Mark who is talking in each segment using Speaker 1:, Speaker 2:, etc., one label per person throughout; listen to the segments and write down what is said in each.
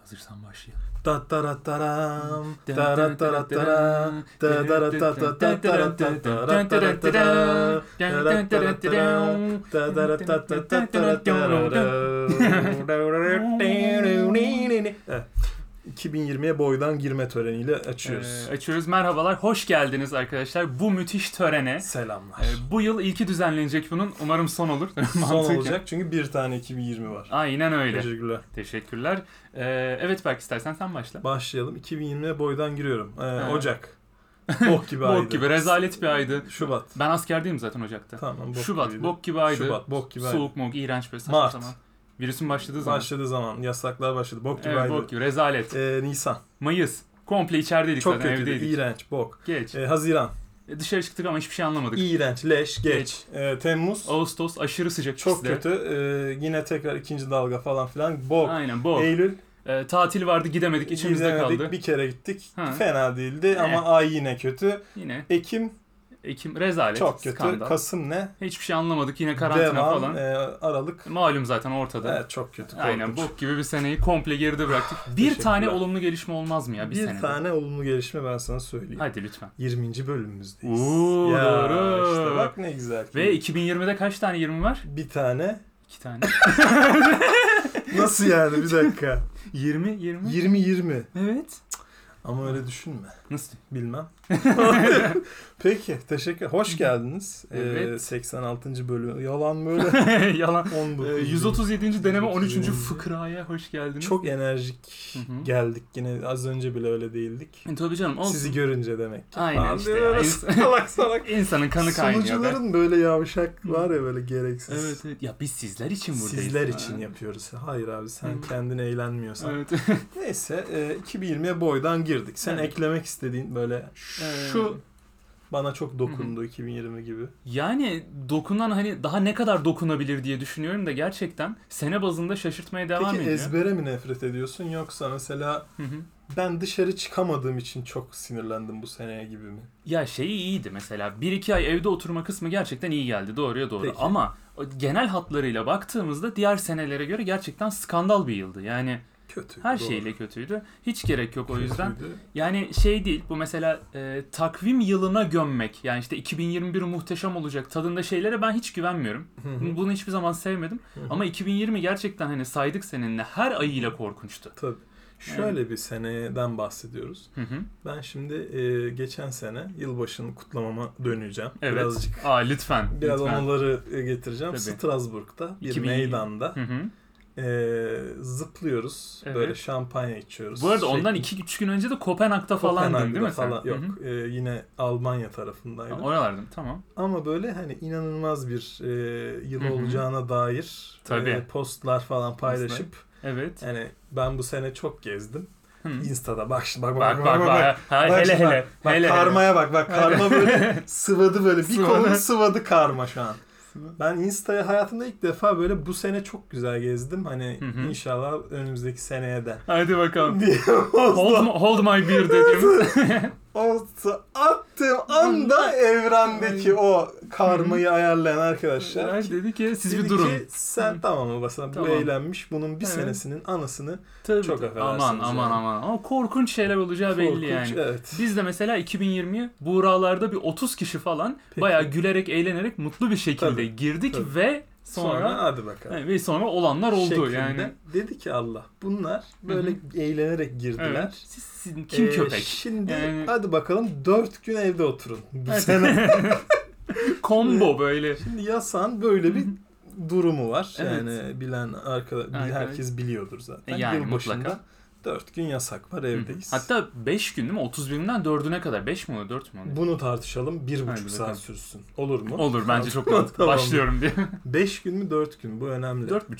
Speaker 1: Hazırsan başlayalım.
Speaker 2: Tatarataram, tarataratam, taratatatataratatataram, taratatatam, taratatatataratam. Evet, 2020'ye boydan girme töreniyle açıyoruz.
Speaker 1: Ee, açıyoruz. Merhabalar, hoş geldiniz arkadaşlar bu müthiş törene.
Speaker 2: Selamlar.
Speaker 1: Ee, bu yıl ilki düzenlenecek bunun. Umarım son olur.
Speaker 2: Son
Speaker 1: Mantıken.
Speaker 2: olacak çünkü bir tane 2020 var.
Speaker 1: Aynen öyle.
Speaker 2: Teşekkürler.
Speaker 1: Teşekkürler. Ee, evet Berk istersen sen başla.
Speaker 2: Başlayalım. 2020'ye boydan giriyorum. Ee,
Speaker 1: Evet.
Speaker 2: Ocak. Bok gibi aydı.
Speaker 1: Bok gibi, rezalet bir aydı.
Speaker 2: Şubat.
Speaker 1: Ben askerdeyim zaten Ocak'ta.
Speaker 2: Tamam. Bok
Speaker 1: Şubat,
Speaker 2: gibiydi.
Speaker 1: bok gibi aydı.
Speaker 2: Şubat, bok gibi aydı.
Speaker 1: Soğuk mok, iğrenç böyle saçma
Speaker 2: Mart.
Speaker 1: sapan. Virüsün başladığı zaman.
Speaker 2: Başladığı zaman yasaklar başladı. Bok gibi
Speaker 1: evet,
Speaker 2: aydı.
Speaker 1: bok gibi, rezalet.
Speaker 2: Ee, Nisan.
Speaker 1: Mayıs. Komple içerideydik
Speaker 2: Çok
Speaker 1: zaten,
Speaker 2: kötüydü.
Speaker 1: evdeydik.
Speaker 2: İğrenç. Bok.
Speaker 1: Geç.
Speaker 2: Ee, Haziran.
Speaker 1: E, Dışarı çıktık ama hiçbir şey anlamadık.
Speaker 2: İğrenç. Leş. Geç.
Speaker 1: Geç.
Speaker 2: Ee, Temmuz.
Speaker 1: Ağustos aşırı sıcak
Speaker 2: Çok
Speaker 1: ikisi de.
Speaker 2: kötü. Ee, yine tekrar ikinci dalga falan filan. Bok.
Speaker 1: Aynen bok.
Speaker 2: Eylül.
Speaker 1: E, tatil vardı gidemedik içimizde
Speaker 2: gidemedik,
Speaker 1: kaldı.
Speaker 2: Bir kere gittik.
Speaker 1: Ha.
Speaker 2: Fena değildi
Speaker 1: Eh.
Speaker 2: ama ay yine kötü.
Speaker 1: Yine
Speaker 2: Ekim
Speaker 1: Ekim rezalet.
Speaker 2: çok kötü.
Speaker 1: skandal.
Speaker 2: Kasım ne?
Speaker 1: Hiçbir şey anlamadık yine karantina
Speaker 2: Devam.
Speaker 1: falan.
Speaker 2: Ee, Aralık.
Speaker 1: Malum zaten ortada.
Speaker 2: Evet çok kötü. Korkunç.
Speaker 1: Aynen bok gibi bir seneyi komple geride bıraktık. bir
Speaker 2: Teşekkürler.
Speaker 1: tane olumlu gelişme olmaz mı ya bir,
Speaker 2: bir
Speaker 1: senede?
Speaker 2: tane olumlu gelişme ben sana söyleyeyim.
Speaker 1: Hadi lütfen.
Speaker 2: 20. bölümümüzdeyiz.
Speaker 1: Oo, doğru.
Speaker 2: işte bak ne güzel. ki.
Speaker 1: Ve 2020'de kaç tane 20 var?
Speaker 2: bir tane.
Speaker 1: 2 tane.
Speaker 2: Nasıl yani bir dakika.
Speaker 1: 20 20.
Speaker 2: 20 20.
Speaker 1: Evet.
Speaker 2: Ama öyle düşünme.
Speaker 1: Nasıl?
Speaker 2: Bilmem. Peki teşekkür. Hoş geldiniz. Ee,
Speaker 1: Evet.
Speaker 2: 86. bölüm. Yalan böyle.
Speaker 1: Yalan.
Speaker 2: 19.
Speaker 1: Ee, 137. deneme 13.
Speaker 2: 137.
Speaker 1: fıkraya hoş geldiniz.
Speaker 2: Çok enerjik
Speaker 1: Hı hı.
Speaker 2: geldik yine. Az önce bile öyle değildik.
Speaker 1: E, Tabii canım olsun.
Speaker 2: Sizi görünce demek ki.
Speaker 1: Aynen
Speaker 2: Falan
Speaker 1: işte
Speaker 2: diyorlar.
Speaker 1: ya. İns-
Speaker 2: salak salak.
Speaker 1: İnsanın kanı kaynıyor. be.
Speaker 2: Sunucuların böyle yavşak var ya böyle gereksiz.
Speaker 1: Evet, evet. Ya biz sizler için buradayız.
Speaker 2: Sizler
Speaker 1: Ha.
Speaker 2: için yapıyoruz. Hayır abi sen
Speaker 1: Hı.
Speaker 2: kendini eğlenmiyorsan.
Speaker 1: Evet.
Speaker 2: Neyse e, 2020'ye boydan girdik. Sen
Speaker 1: Evet.
Speaker 2: eklemek istediğin böyle
Speaker 1: Ee,
Speaker 2: şu bana çok dokundu 2020 gibi.
Speaker 1: Yani dokunan hani daha ne kadar dokunabilir diye düşünüyorum da gerçekten sene bazında şaşırtmaya devam
Speaker 2: Peki
Speaker 1: ediyor.
Speaker 2: ezbere mi nefret ediyorsun yoksa mesela
Speaker 1: Hı hı.
Speaker 2: ben dışarı çıkamadığım için çok sinirlendim bu seneye gibi mi?
Speaker 1: Ya şeyi iyiydi mesela. Bir iki ay evde oturma kısmı gerçekten iyi geldi. Doğruya doğru.
Speaker 2: Peki.
Speaker 1: Ama o genel hatlarıyla baktığımızda diğer senelere göre gerçekten skandal bir yıldı. Yani
Speaker 2: Kötü.
Speaker 1: her
Speaker 2: doğru.
Speaker 1: şeyle kötüydü. Hiç gerek yok o yüzden.
Speaker 2: Kötüydü.
Speaker 1: Yani şey değil bu mesela e, takvim yılına gömmek. Yani işte 2021 muhteşem olacak tadında şeylere ben hiç güvenmiyorum.
Speaker 2: Hı hı.
Speaker 1: Bunu hiçbir zaman sevmedim.
Speaker 2: Hı hı.
Speaker 1: Ama 2020 gerçekten hani saydık seninle her ayıyla korkunçtu.
Speaker 2: Tabii. Şöyle bir seneden bahsediyoruz.
Speaker 1: Hı hı.
Speaker 2: Ben şimdi e, geçen sene yılbaşını kutlamama döneceğim.
Speaker 1: Evet.
Speaker 2: Birazcık
Speaker 1: Aa lütfen.
Speaker 2: Biraz
Speaker 1: lütfen.
Speaker 2: anıları e, getireceğim.
Speaker 1: Tabii.
Speaker 2: Strasbourg'da bir
Speaker 1: 2000
Speaker 2: meydanda
Speaker 1: Hı hı.
Speaker 2: e, zıplıyoruz.
Speaker 1: Evet.
Speaker 2: Böyle şampanya içiyoruz.
Speaker 1: Bu arada
Speaker 2: Şey,
Speaker 1: ondan 2-3 gün önce de Kopenhag'da falandın
Speaker 2: Kopenhag'da
Speaker 1: değil mi
Speaker 2: falan-
Speaker 1: sen?
Speaker 2: Yok
Speaker 1: Hı hı.
Speaker 2: e, yine Almanya tarafındaydım.
Speaker 1: Ha, Oralardım tamam.
Speaker 2: Ama böyle hani inanılmaz bir e, yıl
Speaker 1: Hı hı.
Speaker 2: olacağına dair
Speaker 1: Tabii.
Speaker 2: e, postlar falan paylaşıp
Speaker 1: Evet.
Speaker 2: yani ben bu sene çok gezdim.
Speaker 1: Hı.
Speaker 2: Insta'da bak şimdi bak
Speaker 1: Bak bak bak. Ha,
Speaker 2: Bak
Speaker 1: hele
Speaker 2: şimdi
Speaker 1: hele.
Speaker 2: Bak
Speaker 1: hele
Speaker 2: karmaya bak bak karma böyle sıvadı böyle bir
Speaker 1: Sıvadı.
Speaker 2: kolunu sıvadı karma şu an.
Speaker 1: Sıvadı.
Speaker 2: Ben Insta'ya hayatımda ilk defa böyle bu sene çok güzel gezdim. Hani
Speaker 1: Hı hı.
Speaker 2: inşallah önümüzdeki seneye de.
Speaker 1: Hadi bakalım.
Speaker 2: diye
Speaker 1: Hold, my- hold my beer dedim.
Speaker 2: olsa attığım anda evrendeki o karmayı ayarlayan arkadaşlar.
Speaker 1: Ay, dedi ki siz
Speaker 2: dedi
Speaker 1: bir durun.
Speaker 2: Ki, sen tamam mı basın
Speaker 1: Tamam.
Speaker 2: bu eğlenmiş bunun bir
Speaker 1: Evet.
Speaker 2: senesinin anısını
Speaker 1: Tabii,
Speaker 2: Çok
Speaker 1: tabii.
Speaker 2: affedersiniz
Speaker 1: Aman
Speaker 2: yani.
Speaker 1: aman aman. Ama korkunç şeyler olacağı belli
Speaker 2: korkunç
Speaker 1: yani.
Speaker 2: evet.
Speaker 1: Biz de mesela 2020 buğralarda bir 30 kişi falan
Speaker 2: Peki.
Speaker 1: bayağı gülerek, eğlenerek, mutlu bir şekilde
Speaker 2: Tabii,
Speaker 1: girdik
Speaker 2: tabii.
Speaker 1: ve
Speaker 2: Sonra,
Speaker 1: sonra,
Speaker 2: hadi bakalım.
Speaker 1: Evet, ve sonra olanlar oldu
Speaker 2: Şeklinde
Speaker 1: yani.
Speaker 2: Dedi ki Allah bunlar böyle eğlenerek girdiler.
Speaker 1: Evet. Siz, sizin kim
Speaker 2: Ee,
Speaker 1: köpek?
Speaker 2: Şimdi
Speaker 1: Yani-
Speaker 2: hadi bakalım 4 gün evde oturun bu
Speaker 1: Evet.
Speaker 2: sene.
Speaker 1: Combo böyle.
Speaker 2: Şimdi yasan böyle bir durumu var.
Speaker 1: Evet.
Speaker 2: Yani bilen arkadaş
Speaker 1: Arkadaş.
Speaker 2: herkes biliyordur zaten.
Speaker 1: E, yani mutlaka.
Speaker 2: Yılbaşında 4 gün yasak var evdeyiz.
Speaker 1: Hatta 5 gün değil mi? 31'inden 4'üne kadar. 5 mi oluyor 4 mü oluyor?
Speaker 2: bunu tartışalım bir buçuk
Speaker 1: Hadi
Speaker 2: saat
Speaker 1: bakalım.
Speaker 2: sürsün. Olur mu?
Speaker 1: Olur bence çok mantıklı.
Speaker 2: Tamam.
Speaker 1: Başlıyorum diye.
Speaker 2: 5 gün mü 4 gün bu önemli.
Speaker 1: 4,5 gün.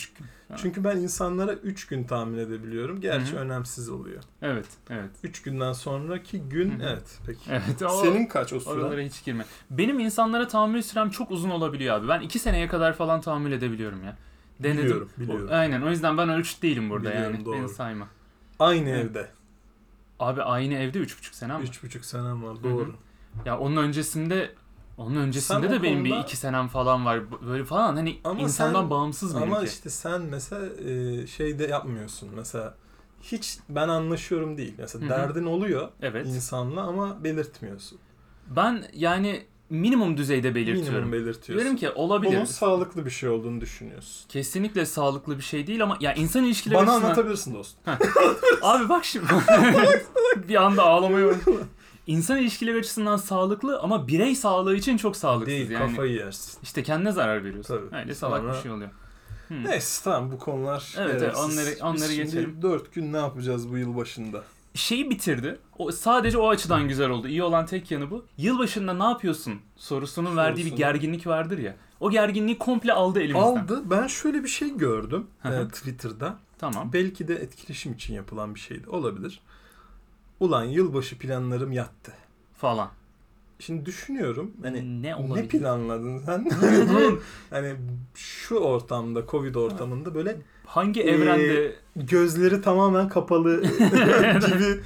Speaker 2: Çünkü ben insanlara 3 gün tahmin edebiliyorum. Gerçi
Speaker 1: Hı hı.
Speaker 2: önemsiz oluyor.
Speaker 1: Evet, evet.
Speaker 2: 3 günden sonraki gün
Speaker 1: Hı hı.
Speaker 2: evet peki.
Speaker 1: Evet. o-
Speaker 2: Senin kaç o süre?
Speaker 1: Oralara hiç girme. Benim insanlara tahammül sürem çok uzun olabiliyor abi. Ben iki seneye kadar falan tahammül edebiliyorum ya. Denedim.
Speaker 2: Biliyorum, biliyorum.
Speaker 1: O- aynen o yüzden ben ölçüt değilim burada
Speaker 2: Biliyorum,
Speaker 1: yani.
Speaker 2: doğru.
Speaker 1: Beni sayma.
Speaker 2: Aynı
Speaker 1: Evet.
Speaker 2: evde.
Speaker 1: Abi aynı evde üç buçuk sene ama.
Speaker 2: 3,5 senem var
Speaker 1: hı.
Speaker 2: doğru.
Speaker 1: Ya onun öncesinde onun öncesinde
Speaker 2: Sen o
Speaker 1: de benim bir
Speaker 2: konuda-
Speaker 1: iki senem falan var. B- Böyle falan hani
Speaker 2: Ama
Speaker 1: insandan
Speaker 2: sen-
Speaker 1: bağımsız benimki.
Speaker 2: Ama işte sen mesela e, şey de yapmıyorsun. Mesela hiç ben anlaşıyorum değil. Mesela
Speaker 1: Hı hı.
Speaker 2: derdin oluyor
Speaker 1: Evet.
Speaker 2: insanla ama belirtmiyorsun.
Speaker 1: Ben yani minimum düzeyde belirtiyorum.
Speaker 2: Minimum belirtiyorsun.
Speaker 1: Diyorum ki
Speaker 2: Bunun
Speaker 1: olabilir.
Speaker 2: sağlıklı bir şey olduğunu düşünüyorsun.
Speaker 1: Kesinlikle sağlıklı bir şey değil ama ya insan ilişkileri
Speaker 2: Bana
Speaker 1: açısından-
Speaker 2: anlatabilirsin dostum.
Speaker 1: Abi bak şimdi. bir anda ağlamaya başladım. İnsan ilişkileri açısından sağlıklı ama birey sağlığı için çok sağlıksız
Speaker 2: Değil
Speaker 1: yani.
Speaker 2: kafayı yersin.
Speaker 1: İşte kendine zarar veriyorsun.
Speaker 2: Tabii.
Speaker 1: Öyle salak
Speaker 2: Sonra-
Speaker 1: bir şey oluyor. Hı.
Speaker 2: Neyse tamam bu konular.
Speaker 1: Evet, evet,
Speaker 2: değersiz.
Speaker 1: onları- onları
Speaker 2: Biz
Speaker 1: geçelim.
Speaker 2: 4 gün ne yapacağız bu yıl başında?
Speaker 1: Şeyi bitirdi. O sadece o açıdan güzel oldu. İyi olan tek yanı bu. Yılbaşında ne yapıyorsun sorusunun verdiği bir
Speaker 2: Sorusunu.
Speaker 1: gerginlik vardır ya. O gerginliği komple aldı elimizden.
Speaker 2: Aldı. Ben şöyle bir şey gördüm
Speaker 1: Hı hı.
Speaker 2: e, Twitter'da.
Speaker 1: Tamam.
Speaker 2: Belki de etkileşim için yapılan bir şeydi. Olabilir. Ulan yılbaşı planlarım yattı.
Speaker 1: Falan.
Speaker 2: Şimdi düşünüyorum hani
Speaker 1: ne
Speaker 2: ne
Speaker 1: Hmm, olabilir?
Speaker 2: planladın sen? hani şu ortamda, Covid ortamında böyle
Speaker 1: Hangi
Speaker 2: Ee,
Speaker 1: evrende
Speaker 2: gözleri tamamen kapalı gibi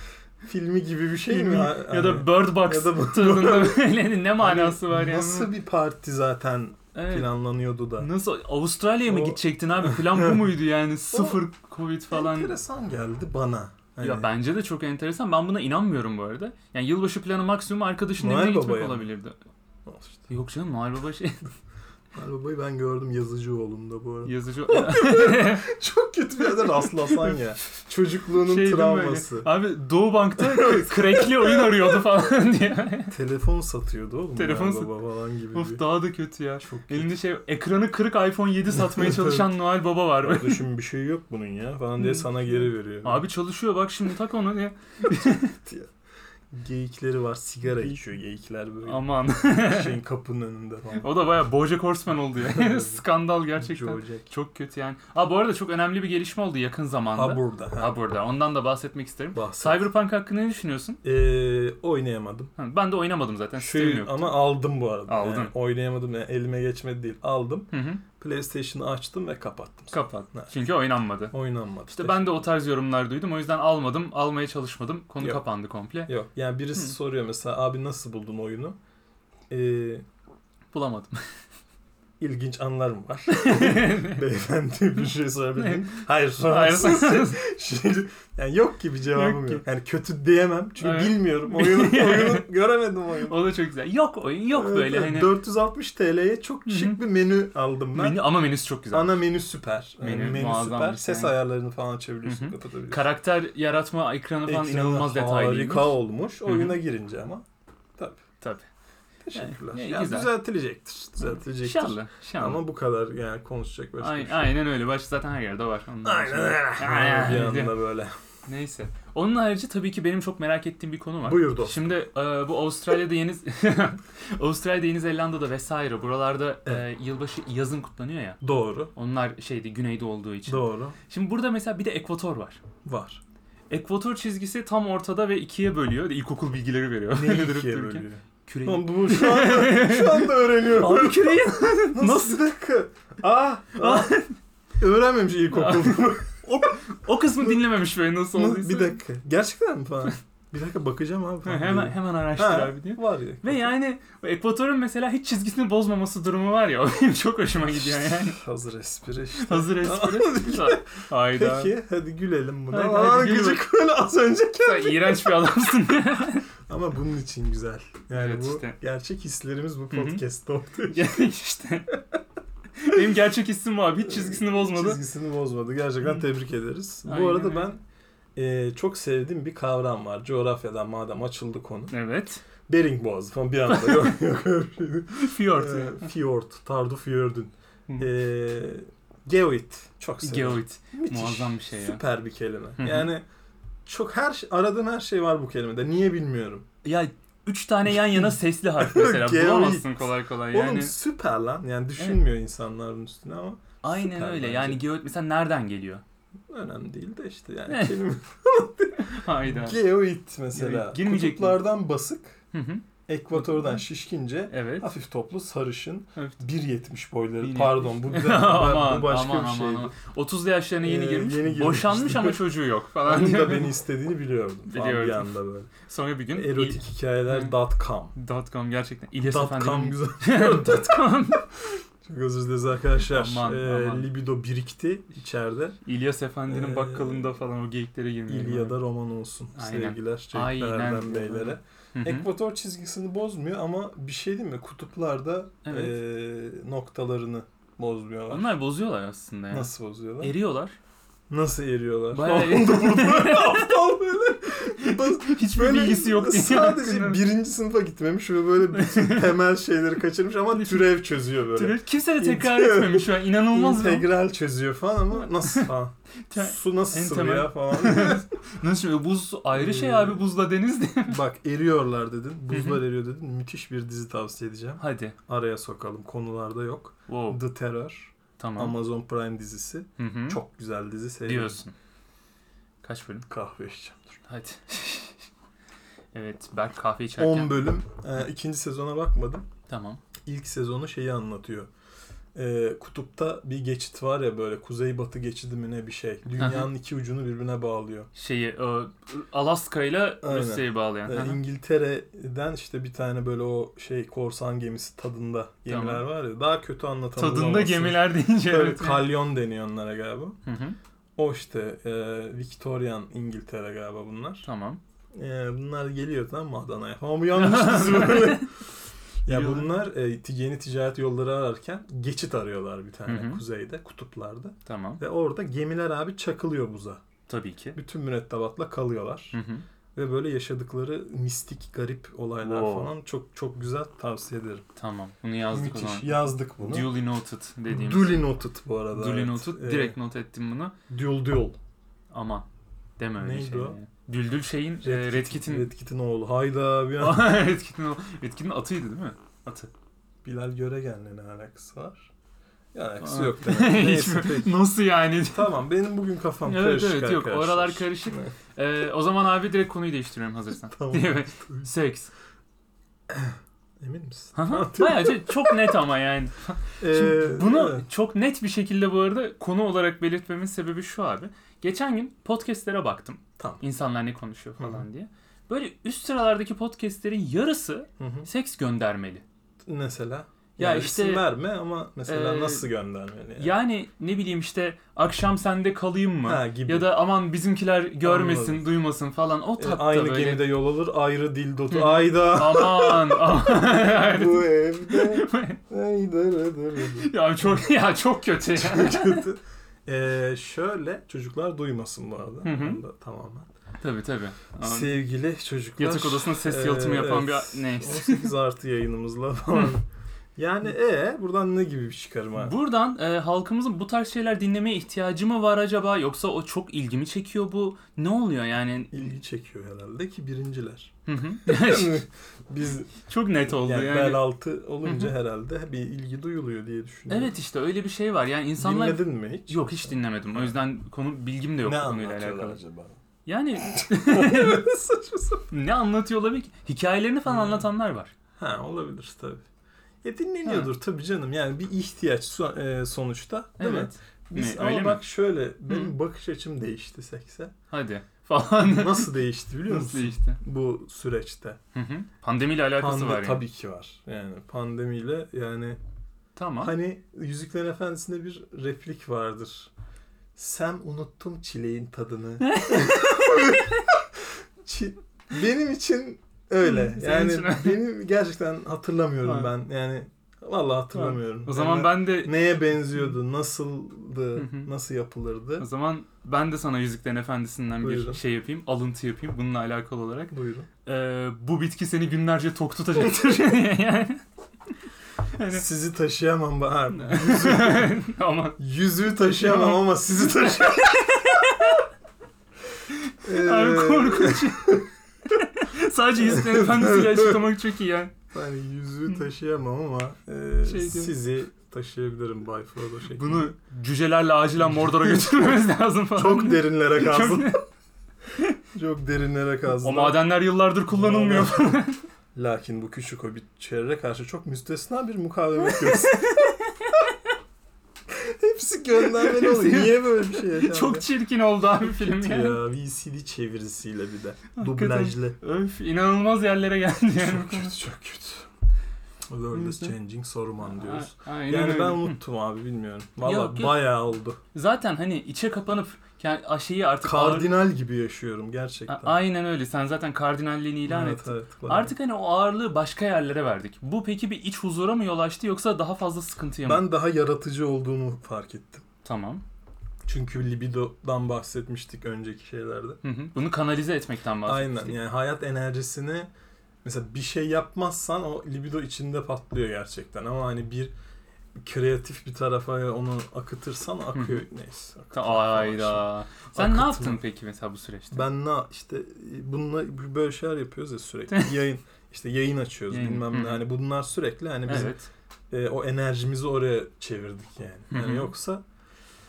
Speaker 2: filmi gibi bir şey mi?
Speaker 1: Filmi ya da Bird Box
Speaker 2: ya da Bird
Speaker 1: tadında böyle hani ne manası var yani?
Speaker 2: Nasıl bir parti zaten
Speaker 1: Evet.
Speaker 2: planlanıyordu da?
Speaker 1: Nasıl Avustralya'ya mı
Speaker 2: O-
Speaker 1: gidecektin abi? Plan bu muydu yani? Sıfır Covid falan.
Speaker 2: Enteresan geldi bana. Hani
Speaker 1: Ya bence de çok enteresan. Ben buna inanmıyorum bu arada. Yani yılbaşı planı maksimum arkadaşının
Speaker 2: Noel
Speaker 1: evine gitmek
Speaker 2: Baba'ya mı?
Speaker 1: olabilirdi.
Speaker 2: Al işte.
Speaker 1: Yok canım Noel Baba şey
Speaker 2: Arabayı ben gördüm Yazıcıoğlu'nda bu arada.
Speaker 1: yazıcı.
Speaker 2: Çok kötü bir yerde rastlasan ya. Çocukluğunun
Speaker 1: şey değil mi
Speaker 2: travması.
Speaker 1: böyle? Abi Doğu Bank'ta crackli oyun arıyordu falan diye.
Speaker 2: Telefon satıyordu oğlum.
Speaker 1: Telefon
Speaker 2: Telefon
Speaker 1: sat-
Speaker 2: baba falan gibi bir.
Speaker 1: of daha da kötü ya.
Speaker 2: Çok kötü.
Speaker 1: Elinde şey ekranı kırık iPhone 7 satmaya çalışan Noel Baba var. böyle.
Speaker 2: Kardeşim bir şey yok bunun ya falan diye sana geri veriyor.
Speaker 1: Abi çalışıyor bak şimdi tak onu diye.
Speaker 2: Geyikleri var sigara içiyor geyikler böyle.
Speaker 1: Aman.
Speaker 2: şeyin kapının önünde falan.
Speaker 1: O da bayağı Bojack Horseman oldu ya. Skandal gerçekten.
Speaker 2: George
Speaker 1: Çok kötü yani. Aa bu arada çok önemli bir gelişme oldu yakın zamanda.
Speaker 2: Ha burada. Ha.
Speaker 1: Ha burada. Ondan da bahsetmek isterim.
Speaker 2: Bahset.
Speaker 1: Cyberpunk hakkında ne düşünüyorsun?
Speaker 2: Ee, oynayamadım.
Speaker 1: Ha, Ben de oynamadım zaten. Sistemim
Speaker 2: Şu
Speaker 1: yok.
Speaker 2: ama aldım bu arada.
Speaker 1: Aldın.
Speaker 2: Yani oynayamadım yani elime geçmedi değil. Aldım.
Speaker 1: Hı hı.
Speaker 2: PlayStation'ı açtım ve kapattım.
Speaker 1: Kapat.
Speaker 2: Ha.
Speaker 1: Çünkü oynanmadı.
Speaker 2: Oynanmadı.
Speaker 1: İşte ben de o tarz yorumlar duydum. O yüzden almadım. Almaya çalışmadım. Konu
Speaker 2: Yok.
Speaker 1: kapandı komple.
Speaker 2: Yok yani birisi
Speaker 1: Hı.
Speaker 2: soruyor mesela abi nasıl buldun oyunu? Ee,
Speaker 1: Bulamadım.
Speaker 2: ilginç anlar mı var? Beyefendi bir şey sorabilir miyim? Hayır soramazsın.
Speaker 1: Hayır.
Speaker 2: Şimdi yani yok ki bir cevabım
Speaker 1: Yok
Speaker 2: yok.
Speaker 1: ki.
Speaker 2: Yani kötü diyemem çünkü
Speaker 1: Evet.
Speaker 2: bilmiyorum. Oyunu, oyunu göremedim oyunu.
Speaker 1: o da çok güzel. Yok oyun yok
Speaker 2: Evet,
Speaker 1: böyle
Speaker 2: evet.
Speaker 1: hani.
Speaker 2: 460 TL'ye çok
Speaker 1: Hı
Speaker 2: şık
Speaker 1: hı.
Speaker 2: bir menü aldım ben.
Speaker 1: Menü, ama menüsü çok güzel.
Speaker 2: Ana menü süper. Yani
Speaker 1: Menü
Speaker 2: Menü,
Speaker 1: muazzam
Speaker 2: süper.
Speaker 1: bir şey.
Speaker 2: Ses ayarlarını falan açabiliyorsun,
Speaker 1: Hı hı.
Speaker 2: kapatabiliyorsun.
Speaker 1: Karakter yaratma ekranı falan
Speaker 2: Ekranı
Speaker 1: inanılmaz detaylıymış.
Speaker 2: Harika olmuş.
Speaker 1: Hı hı.
Speaker 2: Oyuna girince ama. Tabii.
Speaker 1: Tabii.
Speaker 2: Teşekkürler.
Speaker 1: Yani,
Speaker 2: Yani,
Speaker 1: ya, güzel.
Speaker 2: düzeltilecektir. Düzeltilecektir.
Speaker 1: İnşallah. İnşallah.
Speaker 2: Ama bu kadar yani konuşacak başka bir
Speaker 1: Aynen,
Speaker 2: şey.
Speaker 1: aynen öyle. Baş zaten her yerde var. Ondan
Speaker 2: Aynen
Speaker 1: sonra-
Speaker 2: öyle.
Speaker 1: Aynen.
Speaker 2: Bir anda böyle.
Speaker 1: Neyse. Onun harici tabii ki benim çok merak ettiğim bir konu var.
Speaker 2: Buyur dostum.
Speaker 1: Şimdi e, bu Avustralya'da Yeni Avustralya'da Yeni Zelanda'da vesaire buralarda e, yılbaşı yazın kutlanıyor ya.
Speaker 2: Doğru.
Speaker 1: Onlar şeydi güneyde olduğu için.
Speaker 2: Doğru.
Speaker 1: Şimdi burada mesela bir de ekvator var.
Speaker 2: Var.
Speaker 1: Ekvator çizgisi tam ortada ve ikiye bölüyor. İlkokul bilgileri veriyor.
Speaker 2: Neyi
Speaker 1: Durup
Speaker 2: ikiye
Speaker 1: dururken.
Speaker 2: bölüyor?
Speaker 1: Küreyi.
Speaker 2: Lan bu şu anda, şu anda öğreniyorum.
Speaker 1: Abi küreyi.
Speaker 2: Nasıl? Bir dakika. Ah, ah. Öğrenmemiş ilkokul.
Speaker 1: O kısmı dinlememiş böyle nasıl olduysa.
Speaker 2: bir dakika. Gerçekten mi falan? Bir dakika bakacağım abi.
Speaker 1: Ha,
Speaker 2: Falan.
Speaker 1: hemen hemen araştır
Speaker 2: Ha,
Speaker 1: abi diye.
Speaker 2: Var ya.
Speaker 1: Ve yani Ekvator'un mesela hiç çizgisini bozmaması durumu var ya o benim çok hoşuma gidiyor yani.
Speaker 2: Hazır espri işte.
Speaker 1: Hazır espri. Hayda.
Speaker 2: Peki hadi gülelim buna.
Speaker 1: Haydi,
Speaker 2: Haydi,
Speaker 1: haydi gülelim.
Speaker 2: gıcık böyle az önce
Speaker 1: Sen iğrenç bir adamsın.
Speaker 2: Ama bunun için güzel. Yani
Speaker 1: Evet
Speaker 2: bu
Speaker 1: işte.
Speaker 2: gerçek hislerimiz bu
Speaker 1: Hı hı.
Speaker 2: podcast'ta ortaya
Speaker 1: yani işte. Benim gerçek isim bu abi. Hiç çizgisini bozmadı.
Speaker 2: Çizgisini bozmadı. Gerçekten
Speaker 1: Hı.
Speaker 2: tebrik ederiz.
Speaker 1: Aynen
Speaker 2: bu arada
Speaker 1: öyle.
Speaker 2: ben e, çok sevdiğim bir kavram var. Coğrafyadan madem açıldı konu.
Speaker 1: Evet.
Speaker 2: Bering Boğazı falan bir anda yok yok öyle bir şey değil.
Speaker 1: Fjord.
Speaker 2: E, Fjord, Tardu Fjord'un.
Speaker 1: Hı.
Speaker 2: E, Geoit. Çok seviyorum.
Speaker 1: Geoid.
Speaker 2: Müthiş.
Speaker 1: Muazzam bir şey ya.
Speaker 2: Süper bir kelime.
Speaker 1: hı.
Speaker 2: Yani çok her şey- aradığım her şey var bu kelimede. Niye bilmiyorum.
Speaker 1: Ya üç tane yan yana sesli harf mesela.
Speaker 2: Geoid.
Speaker 1: Bulamazsın kolay kolay yani.
Speaker 2: Oğlum süper lan. Yani düşünmüyor insanlar bunun üstüne ama
Speaker 1: Aynen
Speaker 2: süper
Speaker 1: öyle.
Speaker 2: bence.
Speaker 1: Yani geoid mesela nereden geliyor?
Speaker 2: önemli değil de işte
Speaker 1: Eh,
Speaker 2: yani kelime.
Speaker 1: Hayda.
Speaker 2: Geoid mesela.
Speaker 1: Geoid. Girmeyecek mi?
Speaker 2: Kutuplardan basık,
Speaker 1: Hı hı.
Speaker 2: ekvatordan şişkince,
Speaker 1: evet.
Speaker 2: hafif toplu sarışın,
Speaker 1: Evet.
Speaker 2: 1.70 boyları.
Speaker 1: 1.70.
Speaker 2: Pardon bu, bir-
Speaker 1: Aman,
Speaker 2: bu başka
Speaker 1: aman,
Speaker 2: bir şey. şeydi.
Speaker 1: aman. 30'lu yaşlarına yeni
Speaker 2: Ee,
Speaker 1: girmiş.
Speaker 2: yeni girmiş.
Speaker 1: Boşanmış ama çocuğu yok falan.
Speaker 2: Onun
Speaker 1: diye.
Speaker 2: da beni istediğini biliyordum. Falan
Speaker 1: Biliyordum.
Speaker 2: bir anda böyle.
Speaker 1: Sonra bir gün
Speaker 2: Erotik hikayeler.com.
Speaker 1: Dotcom gerçekten. İlyas
Speaker 2: Dotcom
Speaker 1: Efendi'nin
Speaker 2: güzel.
Speaker 1: Dotcom.
Speaker 2: Çok özür dileriz arkadaşlar.
Speaker 1: Aman,
Speaker 2: Ee,
Speaker 1: aman.
Speaker 2: Libido birikti içeride.
Speaker 1: İlyas Efendi'nin
Speaker 2: Ee,
Speaker 1: bakkalında falan o geyiklere girmeyelim.
Speaker 2: İlyada roman olsun.
Speaker 1: Aynen.
Speaker 2: Sevgiler
Speaker 1: Aynen.
Speaker 2: Çelikler'den beylere.
Speaker 1: Hı hı.
Speaker 2: Ekvator çizgisini bozmuyor ama bir şey değil mi? Kutuplarda
Speaker 1: Evet.
Speaker 2: ee, noktalarını bozmuyorlar.
Speaker 1: Onlar bozuyorlar aslında ya.
Speaker 2: Nasıl bozuyorlar?
Speaker 1: Eriyorlar.
Speaker 2: Nasıl eriyorlar?
Speaker 1: Bayağı-
Speaker 2: Onu da burada aptal böyle. Bas-
Speaker 1: Hiçbir
Speaker 2: Böyle
Speaker 1: bilgisi yok diye.
Speaker 2: Sadece birinci sınıfa gitmemiş ve böyle bütün temel şeyleri kaçırmış ama türev çözüyor böyle.
Speaker 1: Türev- Kimse de tekrar
Speaker 2: İntegral-
Speaker 1: etmemiş şu an. İnanılmaz ya.
Speaker 2: İntegral çözüyor falan ama nasıl falan.
Speaker 1: Te-
Speaker 2: Su nasıl
Speaker 1: en
Speaker 2: sıvı ya
Speaker 1: temel-
Speaker 2: falan.
Speaker 1: Nasıl şimdi buz ayrı şey abi
Speaker 2: Ee,
Speaker 1: buzla deniz de.
Speaker 2: Bak eriyorlar dedin. Buzlar eriyor dedin. Müthiş bir dizi tavsiye edeceğim.
Speaker 1: Hadi.
Speaker 2: Araya sokalım. Konularda yok.
Speaker 1: Wow.
Speaker 2: The Terror.
Speaker 1: Tamam.
Speaker 2: Amazon Prime dizisi.
Speaker 1: Hı hı.
Speaker 2: Çok güzel dizi. Seviyorum.
Speaker 1: diyorsun. Kaç bölüm?
Speaker 2: Kahve içeceğim. Dur.
Speaker 1: Hadi. evet Berk kahve
Speaker 2: 10
Speaker 1: içerken.
Speaker 2: bölüm. Ee, ikinci sezona bakmadım.
Speaker 1: Tamam.
Speaker 2: ilk sezonu şeyi anlatıyor. Ee, kutupta bir geçit var ya böyle kuzey batı geçidi mi ne bir şey. Dünyanın iki ucunu birbirine bağlıyor.
Speaker 1: Şeyi o, Alaska ile
Speaker 2: Aynen.
Speaker 1: Rusya'yı bağlayan.
Speaker 2: Ee,
Speaker 1: Hı hı.
Speaker 2: İngiltere'den işte bir tane böyle o şey korsan gemisi tadında gemiler
Speaker 1: Tamam.
Speaker 2: var ya. Daha kötü anlatamam.
Speaker 1: Tadında gemiler şey deyince.
Speaker 2: Böyle
Speaker 1: evet.
Speaker 2: kalyon deniyor onlara galiba.
Speaker 1: Hı hı.
Speaker 2: O işte e, Victorian İngiltere galiba bunlar.
Speaker 1: Tamam.
Speaker 2: E, bunlar geliyor tamam mı Adana'ya? Ama bu yanlış dizi böyle. ya
Speaker 1: Biliyorum.
Speaker 2: bunlar e, ti- yeni ticaret yolları ararken geçit arıyorlar bir tane
Speaker 1: Hı hı.
Speaker 2: kuzeyde, kutuplarda.
Speaker 1: Tamam.
Speaker 2: Ve orada gemiler abi çakılıyor buza.
Speaker 1: Tabii ki.
Speaker 2: Bütün mürettebatla kalıyorlar.
Speaker 1: Hı hı.
Speaker 2: Ve böyle yaşadıkları mistik, garip olaylar
Speaker 1: Wow.
Speaker 2: falan çok çok güzel tavsiye ederim.
Speaker 1: Tamam. Bunu yazdık o
Speaker 2: Müthiş.
Speaker 1: zaman.
Speaker 2: Yazdık bunu.
Speaker 1: Duly noted dediğimiz.
Speaker 2: Duly noted bu arada.
Speaker 1: Duly
Speaker 2: evet. E,
Speaker 1: noted.
Speaker 2: Ee,
Speaker 1: Direkt not ettim bunu.
Speaker 2: Dül Dül.
Speaker 1: Ama deme öyle
Speaker 2: Neydi
Speaker 1: şey.
Speaker 2: o?
Speaker 1: Düldül şeyin e, Red, Kit'in
Speaker 2: Red Kit'in oğlu. Hayda bir an.
Speaker 1: Red Kit'in o- Red Kit'in atıydı değil mi? Atı.
Speaker 2: Bilal Göregen'le ne alakası var? Ya alakası
Speaker 1: Aa.
Speaker 2: yok demek. Neyse
Speaker 1: Hiç-
Speaker 2: peki.
Speaker 1: Nasıl yani?
Speaker 2: Tamam benim bugün kafam
Speaker 1: Evet,
Speaker 2: karışık
Speaker 1: evet, yok.
Speaker 2: arkadaşlar.
Speaker 1: Oralar karışık.
Speaker 2: Evet.
Speaker 1: Ee, o zaman abi direkt konuyu değiştiriyorum hazırsan.
Speaker 2: Tamam.
Speaker 1: Değil mi? Seks.
Speaker 2: Emin misin?
Speaker 1: Bayağı şey- çok net ama yani. Şimdi
Speaker 2: Ee,
Speaker 1: bunu
Speaker 2: evet.
Speaker 1: çok net bir şekilde bu arada konu olarak belirtmemin sebebi şu abi. Geçen gün podcastlere baktım.
Speaker 2: Tamam.
Speaker 1: İnsanlar ne konuşuyor
Speaker 2: Hı hı.
Speaker 1: falan diye. Böyle üst sıralardaki podcastlerin yarısı
Speaker 2: Hı hı.
Speaker 1: seks göndermeli.
Speaker 2: Mesela?
Speaker 1: Ya
Speaker 2: Ya
Speaker 1: işte-
Speaker 2: işte verme ama mesela
Speaker 1: Ee,
Speaker 2: nasıl göndermeli? Yani?
Speaker 1: Yani ne bileyim işte akşam sende kalayım mı?
Speaker 2: Ha, gibi.
Speaker 1: Ya da aman bizimkiler görmesin,
Speaker 2: Anladım.
Speaker 1: duymasın falan. O
Speaker 2: Ee,
Speaker 1: tatta
Speaker 2: aynı
Speaker 1: böyle.
Speaker 2: gemide yol alır, ayrı dil dotu.
Speaker 1: Hı.
Speaker 2: Ayda.
Speaker 1: Aman aman.
Speaker 2: Bu evde. Ayda. da, da, da.
Speaker 1: ya çok ya çok kötü ya.
Speaker 2: Çok kötü. Ee, şöyle çocuklar duymasın bu arada.
Speaker 1: Hı hı.
Speaker 2: Onu da Tamamen.
Speaker 1: tabii tabii. Aman.
Speaker 2: Sevgili çocuklar.
Speaker 1: Yatak odasında ses yalıtımı
Speaker 2: ee,
Speaker 1: yapan
Speaker 2: evet,
Speaker 1: bir neyse.
Speaker 2: 18 artı yayınımızla falan. yani e buradan ne gibi bir çıkarım abi?
Speaker 1: Buradan e, halkımızın bu tarz şeyler dinlemeye ihtiyacı mı var acaba yoksa o çok ilgimi çekiyor bu ne oluyor yani?
Speaker 2: İlgi çekiyor herhalde ki birinciler.
Speaker 1: Hı hı.
Speaker 2: Biz
Speaker 1: çok net oldu
Speaker 2: yani,
Speaker 1: yani.
Speaker 2: bel altı olunca
Speaker 1: Hı
Speaker 2: herhalde bir ilgi duyuluyor diye düşünüyorum.
Speaker 1: Evet işte öyle bir şey var yani insanlar
Speaker 2: Dinledin mi hiç?
Speaker 1: yok hiç dinlemedim o yüzden konu bilgim de yok
Speaker 2: ne
Speaker 1: bu konuyla
Speaker 2: anlatıyorlar
Speaker 1: alakalı.
Speaker 2: acaba?
Speaker 1: Yani
Speaker 2: Saçma sapan.
Speaker 1: ne anlatıyor olabilir ki? Hikayelerini falan
Speaker 2: Hmm.
Speaker 1: anlatanlar var.
Speaker 2: Ha olabilir tabii. Ya dinleniyordur tabii canım. Yani bir ihtiyaç so- e, sonuçta değil mi?
Speaker 1: evet.
Speaker 2: Biz,
Speaker 1: Ne,
Speaker 2: ama
Speaker 1: öyle mi?
Speaker 2: bak şöyle benim bakış açım değişti sekse.
Speaker 1: Hadi falan.
Speaker 2: Nasıl değişti biliyor
Speaker 1: Nasıl
Speaker 2: musun?
Speaker 1: işte?
Speaker 2: Bu süreçte.
Speaker 1: Hı hı. Pandemiyle alakası
Speaker 2: Pandemi
Speaker 1: var yani.
Speaker 2: tabii ki var. Yani pandemiyle yani
Speaker 1: Tamam.
Speaker 2: hani Yüzüklerin Efendisi'nde bir replik vardır. Sen unuttum çileğin tadını. Çi- benim için öyle.
Speaker 1: Hı, Hmm, senin
Speaker 2: Yani
Speaker 1: için
Speaker 2: benim gerçekten
Speaker 1: Ha.
Speaker 2: hatırlamıyorum ben. Yani vallahi hatırlamıyorum.
Speaker 1: O zaman
Speaker 2: Yani
Speaker 1: ben de
Speaker 2: neye benziyordu,
Speaker 1: Hı
Speaker 2: nasıldı,
Speaker 1: hı.
Speaker 2: nasıl yapılırdı?
Speaker 1: o zaman ben de sana Yüzüklerin Efendisi'nden
Speaker 2: Buyurun.
Speaker 1: bir şey yapayım, alıntı yapayım bununla alakalı olarak.
Speaker 2: Buyurun.
Speaker 1: Ee, bu bitki seni günlerce tok tutacaktır. yani. Yani-
Speaker 2: Sizi taşıyamam ben. Ha,
Speaker 1: Ama
Speaker 2: Yüzüğü taşıyamam ama sizi taşıyamam. Ee,
Speaker 1: abi korkunç. Sadece Yüzüklerin Efendisi'yle açıklamak çok iyi yani.
Speaker 2: Yani yüzüğü taşıyamam ama e,
Speaker 1: Şey diyor.
Speaker 2: sizi taşıyabilirim Bay Frodo şeklinde.
Speaker 1: Bunu cücelerle acilen Mordor'a götürmemiz lazım falan.
Speaker 2: çok derinlere kazdın.
Speaker 1: Çok-
Speaker 2: Çok derinlere kazdın.
Speaker 1: O madenler yıllardır kullanılmıyor.
Speaker 2: Lakin bu küçük hobbit çevre karşı çok müstesna bir mukavemet gösteriyor. Hepsi göndermeli oluyor.
Speaker 1: Hepsi-
Speaker 2: Niye böyle bir şey yaşandı?
Speaker 1: Çok çirkin oldu abi film
Speaker 2: Kötü
Speaker 1: yani.
Speaker 2: ya. VCD çevirisiyle bir de. Dublajlı.
Speaker 1: Öf inanılmaz yerlere geldi yani.
Speaker 2: Çok kötü çok kötü. World is
Speaker 1: Hı hı.
Speaker 2: changing Saruman diyoruz.
Speaker 1: A- aynen
Speaker 2: Yani
Speaker 1: öyle.
Speaker 2: ben
Speaker 1: Hı.
Speaker 2: unuttum abi bilmiyorum.
Speaker 1: Yok,
Speaker 2: Valla
Speaker 1: yok.
Speaker 2: bayağı oldu.
Speaker 1: Zaten hani içe kapanıp yani aşeyi artık ağır-
Speaker 2: Kardinal gibi yaşıyorum
Speaker 1: A-
Speaker 2: gerçekten.
Speaker 1: Aynen öyle. Sen zaten kardinalliğini ilan
Speaker 2: Evet,
Speaker 1: ettin.
Speaker 2: evet, bayağı.
Speaker 1: Artık hani o ağırlığı başka yerlere verdik. Bu peki bir iç huzura mı yol açtı yoksa daha fazla sıkıntıya mı?
Speaker 2: ben daha yaratıcı olduğumu fark ettim.
Speaker 1: Tamam.
Speaker 2: Çünkü libidodan bahsetmiştik önceki şeylerde.
Speaker 1: Hı hı. Bunu kanalize etmekten bahsetmiştik.
Speaker 2: Aynen yani hayat enerjisini mesela bir şey yapmazsan o libido içinde patlıyor gerçekten ama hani bir kreatif bir tarafa onu akıtırsan akıyor neyse.
Speaker 1: Ta-
Speaker 2: akıtıyor falan işte.
Speaker 1: Ayda. Sen ne
Speaker 2: Akıtma.
Speaker 1: yaptın peki mesela bu süreçte?
Speaker 2: Ben ne işte bununla böyle şeyler yapıyoruz ya sürekli yayın işte yayın açıyoruz
Speaker 1: Yayın,
Speaker 2: bilmem ne
Speaker 1: hı.
Speaker 2: hani bunlar sürekli hani biz
Speaker 1: evet.
Speaker 2: e, o enerjimizi oraya çevirdik
Speaker 1: Hı
Speaker 2: yani.
Speaker 1: hı.
Speaker 2: Yani yoksa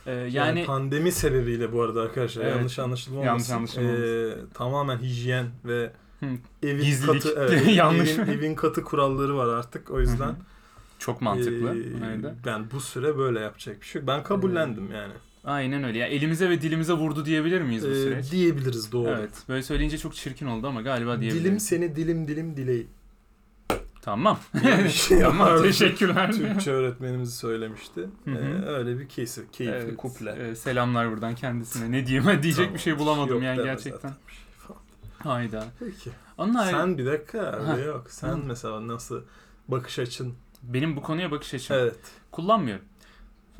Speaker 1: Ee,
Speaker 2: Yani,
Speaker 1: yani
Speaker 2: pandemi sebebiyle bu arada arkadaşlar
Speaker 1: Evet.
Speaker 2: yanlış anlaşılmaması.
Speaker 1: Yanlış anlaşılmaması.
Speaker 2: tamamen hijyen ve
Speaker 1: Hı.
Speaker 2: evin
Speaker 1: Gizlilik.
Speaker 2: katı evet,
Speaker 1: Yanlış.
Speaker 2: evin, evin katı kuralları var artık. O yüzden
Speaker 1: çok mantıklı.
Speaker 2: eee,
Speaker 1: Aynen.
Speaker 2: ben bu süre böyle yapacak bir şey yok. Ben kabullendim yani.
Speaker 1: Aynen öyle. Ya elimize ve dilimize vurdu diyebilir miyiz bu
Speaker 2: Eee,
Speaker 1: süreç?
Speaker 2: Ee, diyebiliriz doğru.
Speaker 1: Evet. Böyle söyleyince çok çirkin oldu ama galiba diyebiliriz.
Speaker 2: Dilim seni dilim dilim dileyim.
Speaker 1: Tamam.
Speaker 2: Bir şey
Speaker 1: tamam.
Speaker 2: vardı.
Speaker 1: Teşekkürler.
Speaker 2: Türkçe öğretmenimiz söylemişti.
Speaker 1: Hı hı.
Speaker 2: Eee, öyle bir keyifli, keyifli
Speaker 1: Evet,
Speaker 2: kuple.
Speaker 1: e, selamlar buradan kendisine. Ne diyeyim? Diyecek
Speaker 2: Tamam,
Speaker 1: bir şey bulamadım
Speaker 2: yok
Speaker 1: yani
Speaker 2: deme
Speaker 1: gerçekten.
Speaker 2: zaten bir şey falan.
Speaker 1: Hayda.
Speaker 2: Peki.
Speaker 1: Onun ayrı-
Speaker 2: Sen bir dakika
Speaker 1: Ha.
Speaker 2: öyle yok. Sen
Speaker 1: Hı.
Speaker 2: mesela nasıl bakış açın?
Speaker 1: benim bu konuya bakış açım.
Speaker 2: Evet.
Speaker 1: Kullanmıyorum.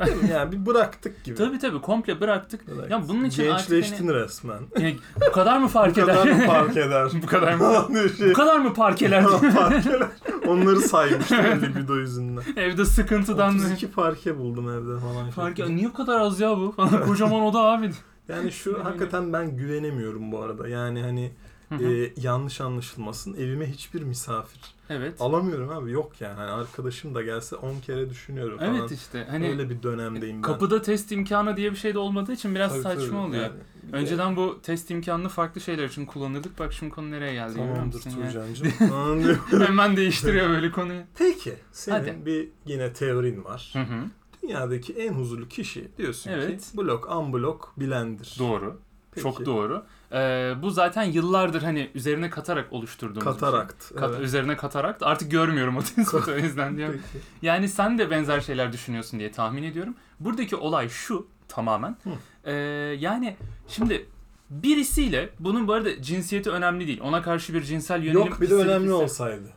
Speaker 2: Değil mi? Yani bir bıraktık gibi.
Speaker 1: Tabii tabii komple bıraktık.
Speaker 2: Bıraktık.
Speaker 1: Ya bunun için artık
Speaker 2: Gençleştin resmen.
Speaker 1: hani- Ya bu kadar mı fark
Speaker 2: bu
Speaker 1: eder?
Speaker 2: kadar mı fark eder?
Speaker 1: bu kadar mı?
Speaker 2: mı?
Speaker 1: bu kadar mı parkeler?
Speaker 2: parkeler. Onları saymıştım libido yüzünden.
Speaker 1: Evde sıkıntıdan
Speaker 2: 32 parke buldum evde falan.
Speaker 1: parke niye bu kadar az ya bu? Kocaman oda abi.
Speaker 2: Yani şu hakikaten ben güvenemiyorum bu arada. Yani hani
Speaker 1: Hı hı.
Speaker 2: e, yanlış anlaşılmasın. Evime hiçbir misafir
Speaker 1: evet.
Speaker 2: alamıyorum abi. Yok yani. Hani arkadaşım da gelse 10 kere düşünüyorum falan.
Speaker 1: Evet işte hani
Speaker 2: Öyle bir dönemdeyim ben.
Speaker 1: kapıda test imkanı diye bir şey de olmadığı için biraz
Speaker 2: Tabii,
Speaker 1: saçma
Speaker 2: tabii.
Speaker 1: oluyor.
Speaker 2: Yani bir de-
Speaker 1: Önceden bu test imkanını farklı şeyler için kullanırdık. Bak şimdi konu nereye geldi. görüyor
Speaker 2: Tamamdır
Speaker 1: musun ya?
Speaker 2: Tuğcan'cığım. Anlıyorum.
Speaker 1: Hemen değiştiriyor böyle konuyu.
Speaker 2: Peki senin
Speaker 1: Hadi.
Speaker 2: bir yine teorin var.
Speaker 1: Hı hı.
Speaker 2: Dünyadaki en huzurlu kişi diyorsun
Speaker 1: Evet.
Speaker 2: ki blok unblock bilendir.
Speaker 1: Doğru.
Speaker 2: Peki.
Speaker 1: Çok doğru. Ee, bu zaten yıllardır hani üzerine katarak oluşturduğumuz bir şey.
Speaker 2: Katarakt.
Speaker 1: Kat-
Speaker 2: evet.
Speaker 1: Üzerine katarak da artık görmüyorum o tespiti o yüzden diyorum.
Speaker 2: Peki.
Speaker 1: Yani sen de benzer şeyler düşünüyorsun diye tahmin ediyorum. Buradaki olay şu tamamen.
Speaker 2: Hı.
Speaker 1: Ee, yani şimdi birisiyle bunun bu arada cinsiyeti önemli değil. Ona karşı bir cinsel yönelim
Speaker 2: Yok bir de
Speaker 1: hissedip
Speaker 2: önemli
Speaker 1: hissedip-
Speaker 2: olsaydı.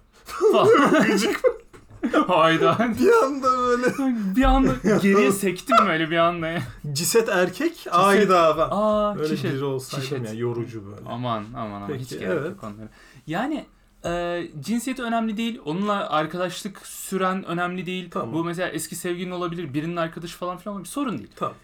Speaker 1: Hayda.
Speaker 2: Bir anda böyle
Speaker 1: bir anda geriye sektim böyle bir anda. ya.
Speaker 2: ciset erkek ayda ben.
Speaker 1: Aa
Speaker 2: Öyle
Speaker 1: şişe.
Speaker 2: biri olsaydım
Speaker 1: Şişet.
Speaker 2: ya yorucu böyle.
Speaker 1: Aman aman aman
Speaker 2: Peki,
Speaker 1: hiç gerek
Speaker 2: evet.
Speaker 1: yok onlara. Yani e, cinsiyeti önemli değil. Onunla arkadaşlık süren önemli değil.
Speaker 2: Tamam.
Speaker 1: Bu mesela eski sevgilin olabilir, birinin arkadaşı falan filan olabilir. Sorun değil.
Speaker 2: Tamam.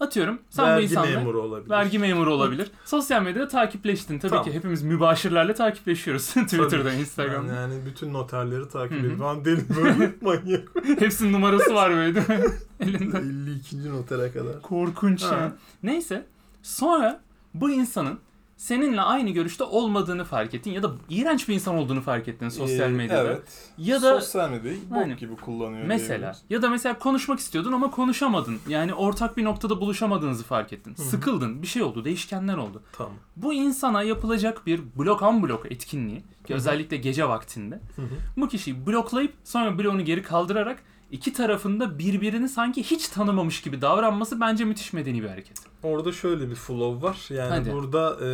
Speaker 1: Atıyorum sen bu
Speaker 2: vergi
Speaker 1: insanla
Speaker 2: memuru olabilir.
Speaker 1: vergi memuru olabilir. Sosyal medyada takipleştin. Tabii
Speaker 2: Tamam.
Speaker 1: ki hepimiz mübaşirlerle takipleşiyoruz. Twitter'da,
Speaker 2: Tabii.
Speaker 1: Instagram'da.
Speaker 2: Yani, yani bütün noterleri takip
Speaker 1: Hı hı.
Speaker 2: edip falan deli böyle manyak.
Speaker 1: Hepsinin numarası var böyle değil mi? Elinde.
Speaker 2: 52. notere kadar.
Speaker 1: Korkunç
Speaker 2: Ha.
Speaker 1: ya. Neyse. Sonra bu insanın seninle aynı görüşte olmadığını fark ettin ya da iğrenç bir insan olduğunu fark ettin sosyal
Speaker 2: Ee,
Speaker 1: medyada.
Speaker 2: Evet.
Speaker 1: Ya da
Speaker 2: sosyal medyayı bok
Speaker 1: Aynen.
Speaker 2: gibi kullanıyor.
Speaker 1: mesela
Speaker 2: diyebiliriz.
Speaker 1: ya da mesela konuşmak istiyordun ama konuşamadın. Yani ortak bir noktada buluşamadığınızı fark ettin.
Speaker 2: Hı hı.
Speaker 1: Sıkıldın. Bir şey oldu. Değişkenler oldu.
Speaker 2: Tamam.
Speaker 1: Bu insana yapılacak bir blok an blok etkinliği ki
Speaker 2: Hı hı.
Speaker 1: özellikle gece vaktinde
Speaker 2: Hı hı.
Speaker 1: bu kişiyi bloklayıp sonra bloğunu geri kaldırarak iki tarafında birbirini sanki hiç tanımamış gibi davranması bence müthiş medeni bir hareket.
Speaker 2: Orada şöyle bir flow var. Yani
Speaker 1: Hadi.
Speaker 2: burada e,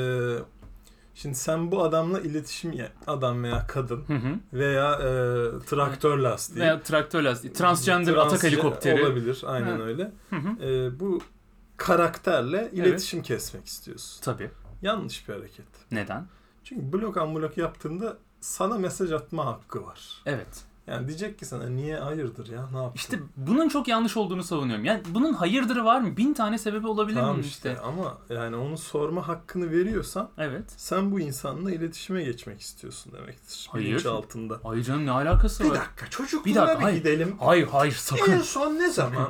Speaker 2: şimdi sen bu adamla iletişim ya adam veya kadın
Speaker 1: Hı hı.
Speaker 2: veya e, traktör lastiği
Speaker 1: Veya traktör lastiği, transgender
Speaker 2: Transge-
Speaker 1: atak helikopteri.
Speaker 2: olabilir. Aynen
Speaker 1: Ha.
Speaker 2: öyle.
Speaker 1: Hı hı.
Speaker 2: E, bu karakterle iletişim kesmek istiyorsun.
Speaker 1: Tabii.
Speaker 2: Yanlış bir hareket.
Speaker 1: Neden?
Speaker 2: Çünkü blok unblock yaptığında sana mesaj atma hakkı var.
Speaker 1: Evet.
Speaker 2: Yani diyecek ki sana niye hayırdır ya ne yaptın?
Speaker 1: İşte bunun çok yanlış olduğunu savunuyorum. Yani bunun hayırdırı var mı? Bin tane sebebi olabilir
Speaker 2: tamam
Speaker 1: mi
Speaker 2: işte.
Speaker 1: işte?
Speaker 2: ama yani onu sorma hakkını veriyorsan
Speaker 1: Evet.
Speaker 2: sen bu insanla iletişime geçmek istiyorsun demektir.
Speaker 1: Hayır.
Speaker 2: Bilinç altında.
Speaker 1: Ay canım ne alakası
Speaker 2: Bir
Speaker 1: var?
Speaker 2: dakika çocukluğuna
Speaker 1: Bir
Speaker 2: bir,
Speaker 1: dakika, hayır.
Speaker 2: gidelim.
Speaker 1: Hayır hayır
Speaker 2: En
Speaker 1: sakın.
Speaker 2: son ne zaman?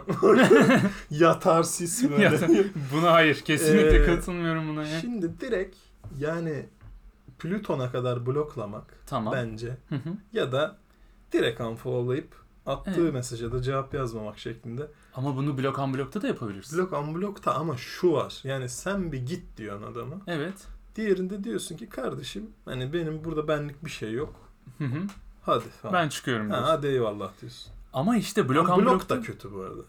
Speaker 2: Yatarsis böyle.
Speaker 1: buna hayır. Kesinlikle
Speaker 2: Ee,
Speaker 1: katılmıyorum buna ya.
Speaker 2: Şimdi direkt yani Plüton'a kadar bloklamak
Speaker 1: Tamam.
Speaker 2: bence
Speaker 1: Hı hı.
Speaker 2: ya da direkt unfollowlayıp attığı
Speaker 1: Evet.
Speaker 2: mesaja da cevap yazmamak şeklinde.
Speaker 1: Ama bunu blok an blokta da yapabilirsin.
Speaker 2: Blok unblock'ta ama şu var. Yani sen bir git diyorsun adama.
Speaker 1: Evet.
Speaker 2: Diğerinde diyorsun ki kardeşim hani benim burada benlik bir şey yok.
Speaker 1: Hı hı.
Speaker 2: Hadi falan.
Speaker 1: Ben çıkıyorum
Speaker 2: ha,
Speaker 1: diyorsun.
Speaker 2: hadi eyvallah diyorsun.
Speaker 1: Ama işte blok
Speaker 2: Blok,
Speaker 1: unblock
Speaker 2: da kötü bu arada.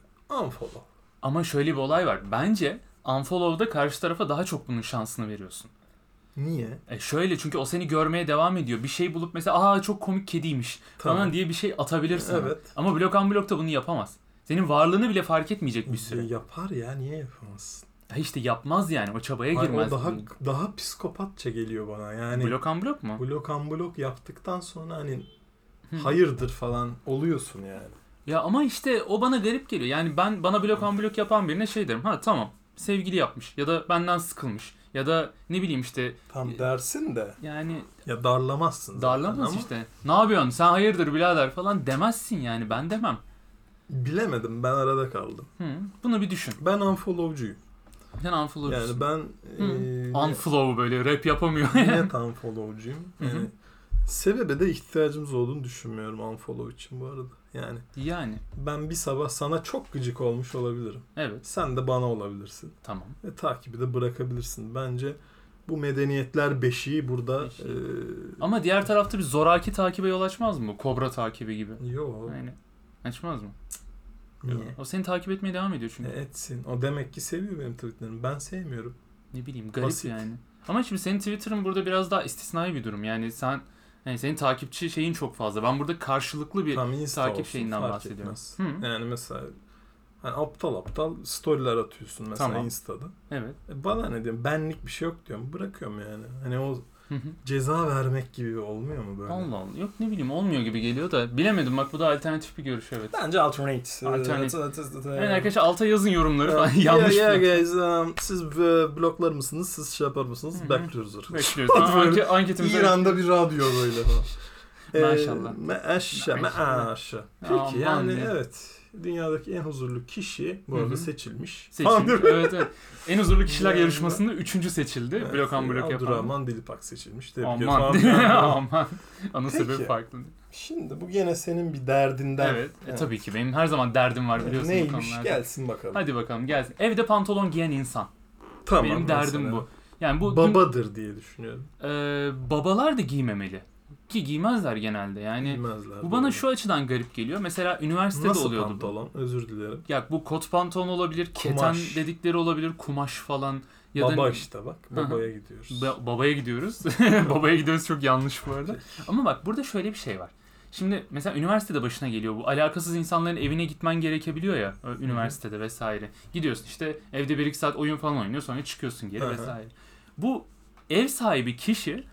Speaker 2: Unfollow.
Speaker 1: Ama şöyle bir olay var. Bence unfollow'da karşı tarafa daha çok bunun şansını veriyorsun.
Speaker 2: Niye?
Speaker 1: E şöyle çünkü o seni görmeye devam ediyor. Bir şey bulup mesela aa çok komik kediymiş
Speaker 2: Tamam.
Speaker 1: falan diye bir şey atabilirsin.
Speaker 2: Evet.
Speaker 1: Ama blok unblock'ta bunu yapamaz. Senin varlığını bile fark etmeyecek bir süre.
Speaker 2: Yapar ya niye yapamazsın?
Speaker 1: Ha işte yapmaz yani. O çabaya
Speaker 2: Hayır,
Speaker 1: girmez.
Speaker 2: o daha daha psikopatça geliyor bana. Yani
Speaker 1: Blok unblock mu?
Speaker 2: blok unblock yaptıktan sonra hani
Speaker 1: Hı.
Speaker 2: hayırdır falan oluyorsun yani.
Speaker 1: Ya ama işte o bana garip geliyor. Yani ben bana blok unblock yapan birine şey derim. Ha tamam sevgili yapmış ya da benden sıkılmış ya da ne bileyim işte
Speaker 2: Tam dersin de
Speaker 1: yani
Speaker 2: ya darlamazsın. zaten
Speaker 1: darlamaz
Speaker 2: ama
Speaker 1: işte. Ne yapıyorsun sen hayırdır birader falan demezsin yani ben demem.
Speaker 2: Bilemedim ben arada kaldım.
Speaker 1: Hı, bunu bir düşün.
Speaker 2: Ben unfollowcuyum.
Speaker 1: Sen unfollow'cusun.
Speaker 2: Yani ben
Speaker 1: Hı.
Speaker 2: eee,
Speaker 1: Unfollow böyle rap yapamıyor.
Speaker 2: net unfollowcuyum.
Speaker 1: Hı hı.
Speaker 2: Yani sebebe de ihtiyacımız olduğunu düşünmüyorum unfollow için bu arada. Yani
Speaker 1: yani
Speaker 2: ben bir sabah sana çok gıcık olmuş olabilirim.
Speaker 1: evet
Speaker 2: Sen de bana olabilirsin.
Speaker 1: tamam.
Speaker 2: Ve takibi de bırakabilirsin. Bence bu medeniyetler beşiği burada
Speaker 1: Beşiği.
Speaker 2: eee
Speaker 1: Ama diğer tarafta bir zoraki takibe yol açmaz mı? Kobra takibi gibi.
Speaker 2: yo
Speaker 1: Yani açmaz mı?
Speaker 2: niye?
Speaker 1: O seni takip etmeye devam ediyor çünkü.
Speaker 2: E, etsin. O demek ki seviyor benim tweetlerimi. Ben sevmiyorum.
Speaker 1: Ne bileyim garip
Speaker 2: Basit.
Speaker 1: yani. Ama şimdi senin Twitter'ın burada biraz daha istisnai bir durum. Yani sen yani senin takipçi şeyin çok fazla. Ben burada karşılıklı bir
Speaker 2: Tam insta
Speaker 1: takip
Speaker 2: olsun,
Speaker 1: şeyinden
Speaker 2: fark
Speaker 1: bahsediyorum.
Speaker 2: etmez.
Speaker 1: Hı.
Speaker 2: Yani mesela hani aptal aptal storyler atıyorsun mesela
Speaker 1: Tamam.
Speaker 2: Insta'da.
Speaker 1: evet.
Speaker 2: E, bana ne diyorum benlik bir şey yok diyorum. Bırakıyorum yani. Hani o
Speaker 1: Hı hı.
Speaker 2: ceza vermek gibi olmuyor mu böyle?
Speaker 1: Allah Allah. Yok ne bileyim olmuyor gibi geliyor da bilemedim bak bu da alternatif bir görüş evet.
Speaker 2: Bence alternate.
Speaker 1: Alternate.
Speaker 2: Alternate.
Speaker 1: Evet arkadaşlar alta yazın yorumları falan
Speaker 2: Yeah,
Speaker 1: yanlış.
Speaker 2: yeah,
Speaker 1: mı?
Speaker 2: guys, um, siz e, bloklar mısınız? Siz şey yapar mısınız?
Speaker 1: Hı hı.
Speaker 2: Bekliyoruz. artık.
Speaker 1: Bekliyoruz. Tamam,
Speaker 2: Böyle
Speaker 1: anke- anketimize.
Speaker 2: İran'da bir radyo böyle. Ee,
Speaker 1: Maşallah.
Speaker 2: Meaşşa,
Speaker 1: Maşallah.
Speaker 2: meaşşa.
Speaker 1: Aman
Speaker 2: Peki yani
Speaker 1: ya.
Speaker 2: evet. Dünyadaki en huzurlu kişi bu
Speaker 1: Hı
Speaker 2: arada
Speaker 1: hı.
Speaker 2: seçilmiş. Tamam,
Speaker 1: Seçilmiş.
Speaker 2: değil mi?
Speaker 1: evet, evet. En huzurlu kişiler
Speaker 2: Yani-
Speaker 1: yarışmasında üçüncü seçildi.
Speaker 2: Evet, e,
Speaker 1: blok an blok yapan.
Speaker 2: Abdurrahman Dilipak seçilmiş. Tebrik
Speaker 1: Aman.
Speaker 2: ederim.
Speaker 1: Aman. Ana
Speaker 2: Peki.
Speaker 1: sebebi farklı.
Speaker 2: Şimdi bu gene senin bir derdinden.
Speaker 1: Evet. E,
Speaker 2: Evet.
Speaker 1: tabii ki benim her zaman derdim var biliyorsun bu
Speaker 2: Neymiş
Speaker 1: konularda.
Speaker 2: gelsin bakalım.
Speaker 1: Hadi bakalım gelsin. Evde pantolon giyen insan.
Speaker 2: Tamam,
Speaker 1: benim
Speaker 2: mesela.
Speaker 1: derdim bu. Yani bu
Speaker 2: Babadır diye düşünüyorum.
Speaker 1: e, babalar da giymemeli. Ki giymezler genelde. Yani
Speaker 2: Bilmezler.
Speaker 1: bu bana
Speaker 2: doğru.
Speaker 1: şu açıdan garip geliyor. Mesela üniversitede
Speaker 2: Nasıl
Speaker 1: oluyordu. bu.
Speaker 2: pantolon? Özür dilerim.
Speaker 1: Ya bu kot pantolon olabilir, keten
Speaker 2: Kumaş.
Speaker 1: dedikleri olabilir, kumaş falan ya
Speaker 2: Baba
Speaker 1: da
Speaker 2: işte bak.
Speaker 1: Hı hı.
Speaker 2: Babaya gidiyoruz.
Speaker 1: Ba- babaya gidiyoruz. babaya gidiyoruz çok yanlış bu arada. Ama bak burada şöyle bir şey var. Şimdi mesela üniversitede başına geliyor bu. Alakasız insanların evine gitmen gerekebiliyor ya ö- üniversitede vesaire. Gidiyorsun işte evde bir iki saat oyun falan oynuyor sonra çıkıyorsun geri
Speaker 2: Hı hı.
Speaker 1: vesaire. Bu ev sahibi kişi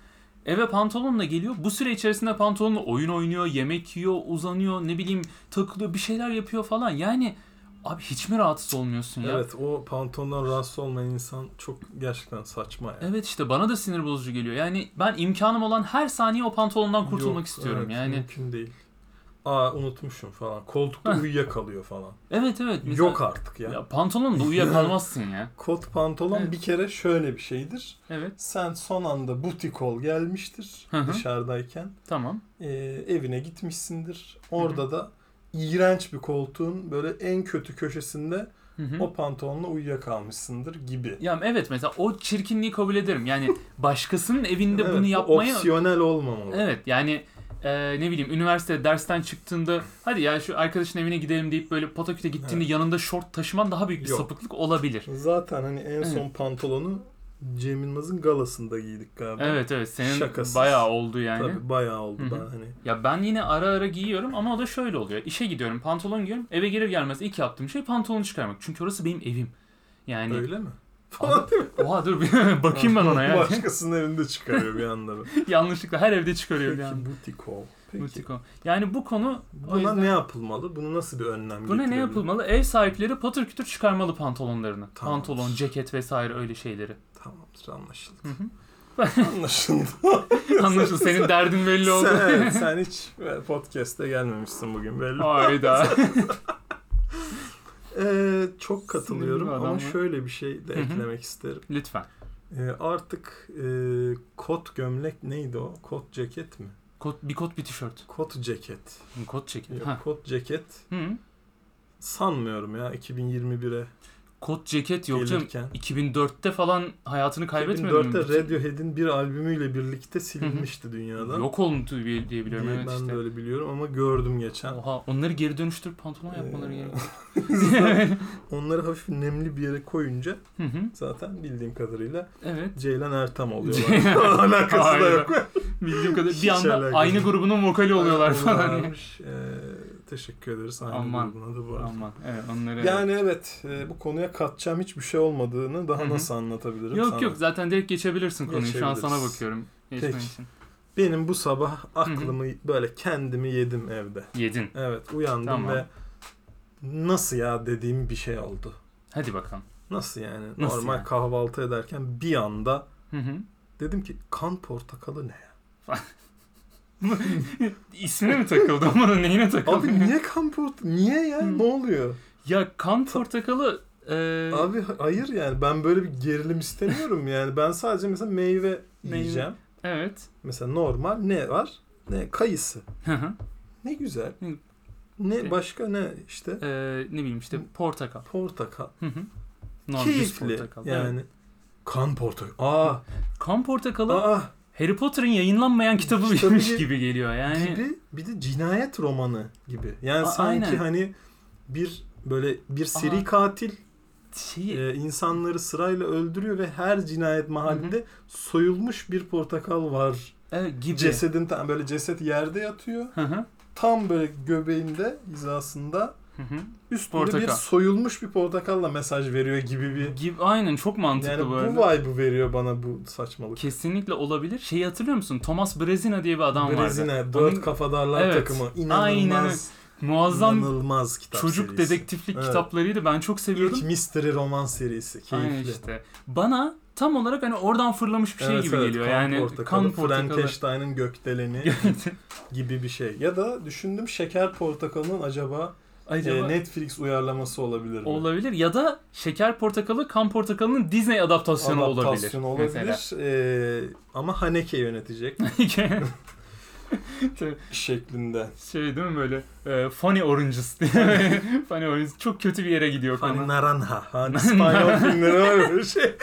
Speaker 1: eve pantolonla geliyor. Bu süre içerisinde pantolonla oyun oynuyor, yemek yiyor, uzanıyor, ne bileyim takılıyor, bir şeyler yapıyor falan. Yani abi hiç mi rahatsız olmuyorsun ya?
Speaker 2: Evet o pantolondan rahatsız olmayan insan çok gerçekten saçma yani.
Speaker 1: Evet işte bana da sinir bozucu geliyor. Yani ben imkanım olan her saniye o pantolondan kurtulmak
Speaker 2: Yok,
Speaker 1: istiyorum.
Speaker 2: evet,
Speaker 1: yani
Speaker 2: Mümkün değil. Aa unutmuşum falan. Koltukta uyuyakalıyor falan.
Speaker 1: evet evet. mesela-
Speaker 2: Yok artık ya.
Speaker 1: Ya pantolonla uyuyakalmazsın ya.
Speaker 2: Kot pantolon
Speaker 1: Evet.
Speaker 2: bir kere şöyle bir şeydir.
Speaker 1: Evet
Speaker 2: Sen son anda butikol gelmiştir
Speaker 1: Hı hı.
Speaker 2: dışarıdayken.
Speaker 1: tamam.
Speaker 2: Ee, evine gitmişsindir. Orada da iğrenç bir koltuğun böyle en kötü köşesinde
Speaker 1: Hı hı.
Speaker 2: o pantolonla uyuyakalmışsındır gibi.
Speaker 1: Ya evet mesela o çirkinliği kabul ederim. Yani başkasının evinde
Speaker 2: Evet,
Speaker 1: bunu
Speaker 2: bu
Speaker 1: yapmaya...
Speaker 2: Opsiyonel olmamalı.
Speaker 1: Evet yani e, ne bileyim üniversite dersten çıktığında hadi ya şu arkadaşın evine gidelim deyip böyle Pataküt'e gittiğinde yanında şort taşıman daha büyük bir
Speaker 2: Yok.
Speaker 1: sapıklık olabilir.
Speaker 2: Zaten hani en son pantolonu Cem Yılmaz'ın galasında giydik galiba.
Speaker 1: Evet evet senin
Speaker 2: Şakasız.
Speaker 1: bayağı oldu yani.
Speaker 2: Tabii bayağı oldu
Speaker 1: Hı hı.
Speaker 2: daha hani.
Speaker 1: Ya ben yine ara ara giyiyorum ama o da şöyle oluyor. İşe gidiyorum, pantolon giyiyorum. Eve gelir gelmez ilk yaptığım şey pantolonu çıkarmak. Çünkü orası benim evim. Yani
Speaker 2: Öyle mi? Falan değil mi?
Speaker 1: oha dur bir bakayım ben ona yani.
Speaker 2: Başkasının evinde çıkarıyor bir anda. böyle.
Speaker 1: Yanlışlıkla her evde çıkarıyor
Speaker 2: Peki
Speaker 1: yani.
Speaker 2: butiko. Peki.
Speaker 1: Butiko. Yani bu konu o
Speaker 2: Buna
Speaker 1: yüzden-
Speaker 2: ne yapılmalı? Bunu nasıl bir önlem
Speaker 1: buna ne
Speaker 2: getirebilir?
Speaker 1: yapılmalı? Ev sahipleri patır kütür çıkarmalı pantolonlarını.
Speaker 2: Tamam.
Speaker 1: Pantolon, ceket vesaire öyle şeyleri.
Speaker 2: Tamamdır anlaşıldı.
Speaker 1: Hı hı.
Speaker 2: Anlaşıldı.
Speaker 1: Anlaşıldı senin derdin belli oldu.
Speaker 2: sen, evet, sen hiç podcast'e gelmemişsin bugün belli.
Speaker 1: Hayda.
Speaker 2: Ee, çok katılıyorum
Speaker 1: Sinirli bir
Speaker 2: ama
Speaker 1: adam ya.
Speaker 2: şöyle bir şey de
Speaker 1: Hı hı.
Speaker 2: eklemek isterim.
Speaker 1: Lütfen.
Speaker 2: Ee, artık e, kot gömlek neydi o? Kot ceket mi?
Speaker 1: Kot, bir kot bir tişört.
Speaker 2: Kot ceket.
Speaker 1: Kot ceket.
Speaker 2: Yok,
Speaker 1: Ha.
Speaker 2: kot ceket
Speaker 1: Hı.
Speaker 2: sanmıyorum ya 2021'e
Speaker 1: kot ceket yok canım.
Speaker 2: Gelirken.
Speaker 1: 2004'te falan hayatını kaybetmedi mi?
Speaker 2: 2004'te Radiohead'in bir albümüyle birlikte silinmişti dünyadan.
Speaker 1: Yok oldu diye diye
Speaker 2: diye
Speaker 1: biliyorum. Evet
Speaker 2: ben
Speaker 1: işte.
Speaker 2: de öyle biliyorum ama gördüm geçen.
Speaker 1: Oha onları geri dönüştürüp pantolon yapmaları
Speaker 2: Ee,
Speaker 1: gerekiyor.
Speaker 2: Onları hafif nemli bir yere koyunca
Speaker 1: Hı hı,
Speaker 2: zaten bildiğim kadarıyla
Speaker 1: evet.
Speaker 2: Ceylan Ertam oluyorlar. Alakası da yok.
Speaker 1: Bildiğim kadarıyla bir
Speaker 2: Hiç
Speaker 1: anda
Speaker 2: şey alakası
Speaker 1: aynı
Speaker 2: yok.
Speaker 1: grubunun vokali oluyorlar falan.
Speaker 2: Varmış. Ee, teşekkür ederiz. Aynı
Speaker 1: Aman.
Speaker 2: grubuna da bu arada.
Speaker 1: Aman evet onları.
Speaker 2: Yani evet e, bu konuya katacağım hiçbir şey olmadığını daha
Speaker 1: Hı hı.
Speaker 2: nasıl anlatabilirim
Speaker 1: yok
Speaker 2: sana?
Speaker 1: yok zaten direkt geçebilirsin konuyu. Şu an sana
Speaker 2: Geçebiliriz.
Speaker 1: bakıyorum. Geçmen
Speaker 2: Peki.
Speaker 1: için.
Speaker 2: Benim bu sabah aklımı böyle kendimi yedim evde.
Speaker 1: Yedin.
Speaker 2: Evet uyandım
Speaker 1: Tamam.
Speaker 2: ve nasıl ya dediğim bir şey oldu.
Speaker 1: Hadi bakalım.
Speaker 2: Nasıl yani?
Speaker 1: Nasıl
Speaker 2: Normal
Speaker 1: yani?
Speaker 2: kahvaltı ederken bir anda
Speaker 1: Hı hı.
Speaker 2: dedim ki kan portakalı ne ya?
Speaker 1: İsmine mi takıldı? Onun neyine takıldı?
Speaker 2: Abi niye kan portakalı? Niye ya?
Speaker 1: Hı.
Speaker 2: Ne oluyor?
Speaker 1: Ya kan portakalı e,
Speaker 2: Abi ha- hayır yani ben böyle bir gerilim istemiyorum yani. Ben sadece mesela meyve
Speaker 1: Meyve.
Speaker 2: yiyeceğim.
Speaker 1: evet.
Speaker 2: Mesela normal ne var? Ne kayısı.
Speaker 1: Hı hı.
Speaker 2: Ne güzel.
Speaker 1: Hı.
Speaker 2: Ne
Speaker 1: Ne?
Speaker 2: başka ne işte
Speaker 1: E, ne bileyim işte portakal.
Speaker 2: portakal.
Speaker 1: Hı hı. Normal düz
Speaker 2: Keyifli
Speaker 1: portakal.
Speaker 2: yani.
Speaker 1: Evet.
Speaker 2: Kan portakal. Aa,
Speaker 1: Kan portakalı
Speaker 2: aa
Speaker 1: Harry Potter'ın yayınlanmayan kitabı
Speaker 2: Kitabı
Speaker 1: bilmiş
Speaker 2: gibi-
Speaker 1: gibi geliyor yani.
Speaker 2: gibi bir de cinayet romanı gibi. Yani
Speaker 1: hani A-
Speaker 2: sanki
Speaker 1: aynen.
Speaker 2: hani bir böyle bir seri
Speaker 1: Aa.
Speaker 2: katil
Speaker 1: Şey,
Speaker 2: e, insanları sırayla öldürüyor ve her cinayet mahallinde soyulmuş bir portakal var.
Speaker 1: e, gibi.
Speaker 2: Cesedin tam böyle ceset yerde yatıyor.
Speaker 1: Hı hı.
Speaker 2: Tam böyle göbeğinde hizasında
Speaker 1: Hı hı.
Speaker 2: üstünde bir
Speaker 1: Portakal.
Speaker 2: soyulmuş bir portakalla mesaj veriyor gibi bir
Speaker 1: gibi. Aynen çok mantıklı
Speaker 2: Ee, yani bu
Speaker 1: bu arada.
Speaker 2: vibe'ı veriyor bana bu saçmalık.
Speaker 1: Kesinlikle olabilir. Şeyi hatırlıyor musun? Thomas Brezina diye bir adam vardı.
Speaker 2: Brezine,
Speaker 1: Onun
Speaker 2: dört kafadarlar
Speaker 1: Evet.
Speaker 2: takımı.
Speaker 1: Aynen öyle.
Speaker 2: İnanılmaz.
Speaker 1: Muazzam
Speaker 2: İnanılmaz kitap
Speaker 1: çocuk
Speaker 2: serisi.
Speaker 1: dedektiflik
Speaker 2: Evet.
Speaker 1: kitaplarıydı. Ben çok seviyordum.
Speaker 2: İlk Mystery roman serisi. Keyifli.
Speaker 1: Aynen işte. Bana tam olarak hani oradan fırlamış bir şey
Speaker 2: Evet,
Speaker 1: gibi
Speaker 2: evet.
Speaker 1: geliyor.
Speaker 2: Kan
Speaker 1: yani
Speaker 2: portakalı,
Speaker 1: kan portakalı.
Speaker 2: Frankenstein'ın gökdeleni gibi bir şey. Ya da düşündüm şeker portakalının acaba, e,
Speaker 1: Acaba
Speaker 2: Netflix uyarlaması olabilir mi?
Speaker 1: olabilir ya da şeker portakalı kan portakalının Disney adaptasyonu,
Speaker 2: Adaptasyonu
Speaker 1: olabilir.
Speaker 2: olabilir. E, ama Haneke yönetecek
Speaker 1: Mesela.
Speaker 2: şeklinde.
Speaker 1: şey değil mi böyle e, funny oranges diye. funny oranges çok kötü bir yere gidiyor
Speaker 2: Hani
Speaker 1: konu.
Speaker 2: Naranja. Hani İspanyol filmleri var ya böyle şey.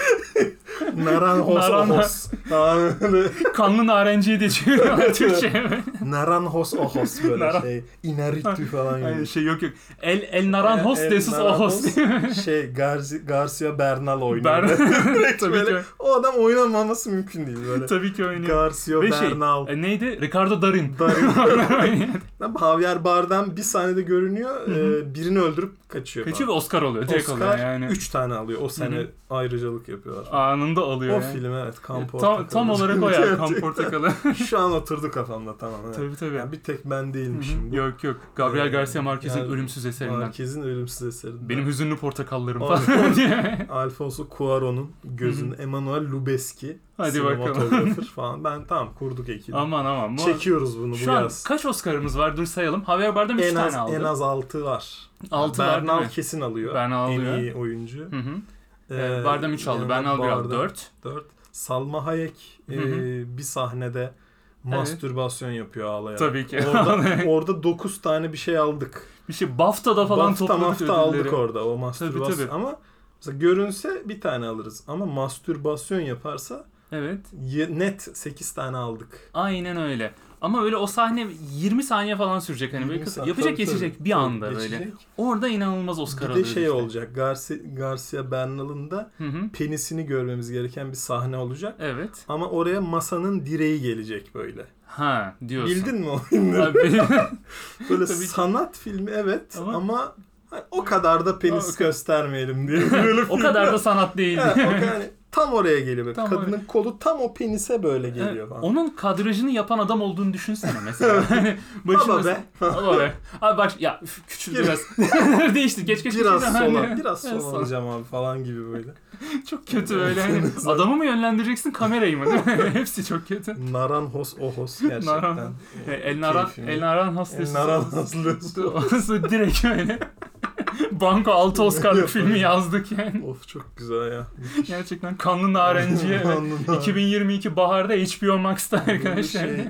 Speaker 2: Naranjos
Speaker 1: Naranja.
Speaker 2: ojos. Tamam, böyle
Speaker 1: Kanlı narenciye de çeviriyorlar
Speaker 2: Evet,
Speaker 1: Türkçe'ye. mi?
Speaker 2: Naranjos ojos böyle
Speaker 1: Naran-
Speaker 2: şey. Inarritu falan
Speaker 1: Ay,
Speaker 2: gibi.
Speaker 1: şey yok yok. El el naranjos
Speaker 2: E, El- el
Speaker 1: desus ojos
Speaker 2: naranjos.
Speaker 1: diye mi?
Speaker 2: şey Garci, Garcia Bernal oynuyor.
Speaker 1: Ber- tabii
Speaker 2: böyle
Speaker 1: ki
Speaker 2: o adam oynamaması mümkün değil böyle.
Speaker 1: tabii ki oynuyor.
Speaker 2: Garcia
Speaker 1: Ve şey,
Speaker 2: Bernal.
Speaker 1: e, neydi? Ricardo Darin.
Speaker 2: Darin. Lan Javier Bardem bir sahnede görünüyor. e, birini öldürüp kaçıyor.
Speaker 1: Kaçıyor ve Oscar oluyor. Direkt oluyor
Speaker 2: Oscar
Speaker 1: yani.
Speaker 2: 3 tane alıyor. O sene
Speaker 1: Hı hı.
Speaker 2: ayrıcalık yapıyorlar.
Speaker 1: Anında alıyor
Speaker 2: o
Speaker 1: yani.
Speaker 2: film evet.
Speaker 1: tam,
Speaker 2: Kan
Speaker 1: tam
Speaker 2: Portakalı.
Speaker 1: olarak o ya. Kan
Speaker 2: Gerçekten.
Speaker 1: portakalı.
Speaker 2: Şu an oturdu kafamda tamam. Evet.
Speaker 1: tabii tabii.
Speaker 2: Yani bir tek ben
Speaker 1: Hı hı.
Speaker 2: değilmişim. bu.
Speaker 1: yok yok. Gabriel
Speaker 2: Ee,
Speaker 1: Garcia Marquez'in
Speaker 2: yani-
Speaker 1: ölümsüz eserinden.
Speaker 2: Marquez'in ölümsüz eserinden.
Speaker 1: Benim hüzünlü portakallarım
Speaker 2: Abi.
Speaker 1: falan diye.
Speaker 2: Alfonso Cuarón'un gözünü Emmanuel Lubezki
Speaker 1: Hadi bakalım.
Speaker 2: sinematografer falan. Ben tamam kurduk ekibi.
Speaker 1: aman aman. Bu
Speaker 2: Çekiyoruz bunu bu
Speaker 1: Şu an
Speaker 2: yaz.
Speaker 1: kaç Oscar'ımız var? Dur sayalım. Javier Bardem 3
Speaker 2: En
Speaker 1: tane
Speaker 2: az
Speaker 1: aldı.
Speaker 2: en az 6 var.
Speaker 1: 6 var
Speaker 2: Bernal
Speaker 1: değil mi?
Speaker 2: kesin alıyor.
Speaker 1: Bernal
Speaker 2: en
Speaker 1: alıyor.
Speaker 2: iyi oyuncu.
Speaker 1: Hı hı.
Speaker 2: Ee,
Speaker 1: Ee, Bardem 3 aldı.
Speaker 2: yani
Speaker 1: Bernal 1 aldı.
Speaker 2: Bardem
Speaker 1: 4.
Speaker 2: dört. Salma Hayek
Speaker 1: Hı
Speaker 2: e, bir sahnede mastürbasyon yapıyor ağlayarak.
Speaker 1: Tabii ki.
Speaker 2: Orada, orada 9 tane bir şey aldık.
Speaker 1: Bir şey BAFTA'da falan
Speaker 2: BAFTA
Speaker 1: topladık
Speaker 2: mafta aldık
Speaker 1: ödülleri.
Speaker 2: orada o mastürbasyon.
Speaker 1: tabii.
Speaker 2: Ama mesela görünse bir tane alırız. Ama mastürbasyon yaparsa
Speaker 1: Evet.
Speaker 2: ye- net 8 tane aldık.
Speaker 1: Aynen öyle. Ama böyle o sahne 20 saniye falan sürecek hani böyle
Speaker 2: 20
Speaker 1: kız
Speaker 2: saat,
Speaker 1: yapacak
Speaker 2: tabii,
Speaker 1: geçecek
Speaker 2: tabii.
Speaker 1: bir
Speaker 2: Tabii,
Speaker 1: anda böyle.
Speaker 2: geçecek.
Speaker 1: Orada inanılmaz Oscar
Speaker 2: Bir de
Speaker 1: alıyor
Speaker 2: şey
Speaker 1: işte.
Speaker 2: olacak. Garci, Garcia Bernal'ın da
Speaker 1: Hı hı.
Speaker 2: penisini görmemiz gereken bir sahne olacak.
Speaker 1: Evet.
Speaker 2: Ama oraya masanın direği gelecek böyle.
Speaker 1: Ha diyorsun.
Speaker 2: Bildin mi o filmleri?
Speaker 1: Abi,
Speaker 2: Böyle
Speaker 1: Tabii ki.
Speaker 2: sanat filmi evet
Speaker 1: Ama-
Speaker 2: ama, hani o kadar da penis
Speaker 1: O kadar-
Speaker 2: göstermeyelim diye. Böyle
Speaker 1: o kadar da sanat değildi.
Speaker 2: Ha, o kadar- yani tam oraya geliyor. Böyle.
Speaker 1: Tam
Speaker 2: Kadının kolu tam o penise böyle
Speaker 1: Evet,
Speaker 2: geliyor falan.
Speaker 1: Onun kadrajını yapan adam olduğunu düşünsene mesela. Hani başına-
Speaker 2: Baba be.
Speaker 1: Baba be. Abi bak ya üf, küçül
Speaker 2: Gir-
Speaker 1: biraz. Değişti geç geç.
Speaker 2: biraz
Speaker 1: geç.
Speaker 2: sola,
Speaker 1: Hani-
Speaker 2: biraz
Speaker 1: Evet,
Speaker 2: sola alacağım abi falan gibi böyle.
Speaker 1: Çok kötü böyle. Hani, adamı mı yönlendireceksin kamerayı mı değil mi? Hepsi çok kötü.
Speaker 2: Naran hos ohos gerçekten.
Speaker 1: Naran- E, El Naran,
Speaker 2: Keyfini-
Speaker 1: El Naran hastası.
Speaker 2: El Naran Hazlısı.
Speaker 1: Orası direkt öyle. Banko 6 Oscar'lık filmi yazdık yani.
Speaker 2: of çok güzel ya.
Speaker 1: Gerçekten kanlı narenciye.
Speaker 2: Anladım.
Speaker 1: 2022 baharda HBO Max'ta
Speaker 2: Böyle
Speaker 1: arkadaşlar.
Speaker 2: Şey, e,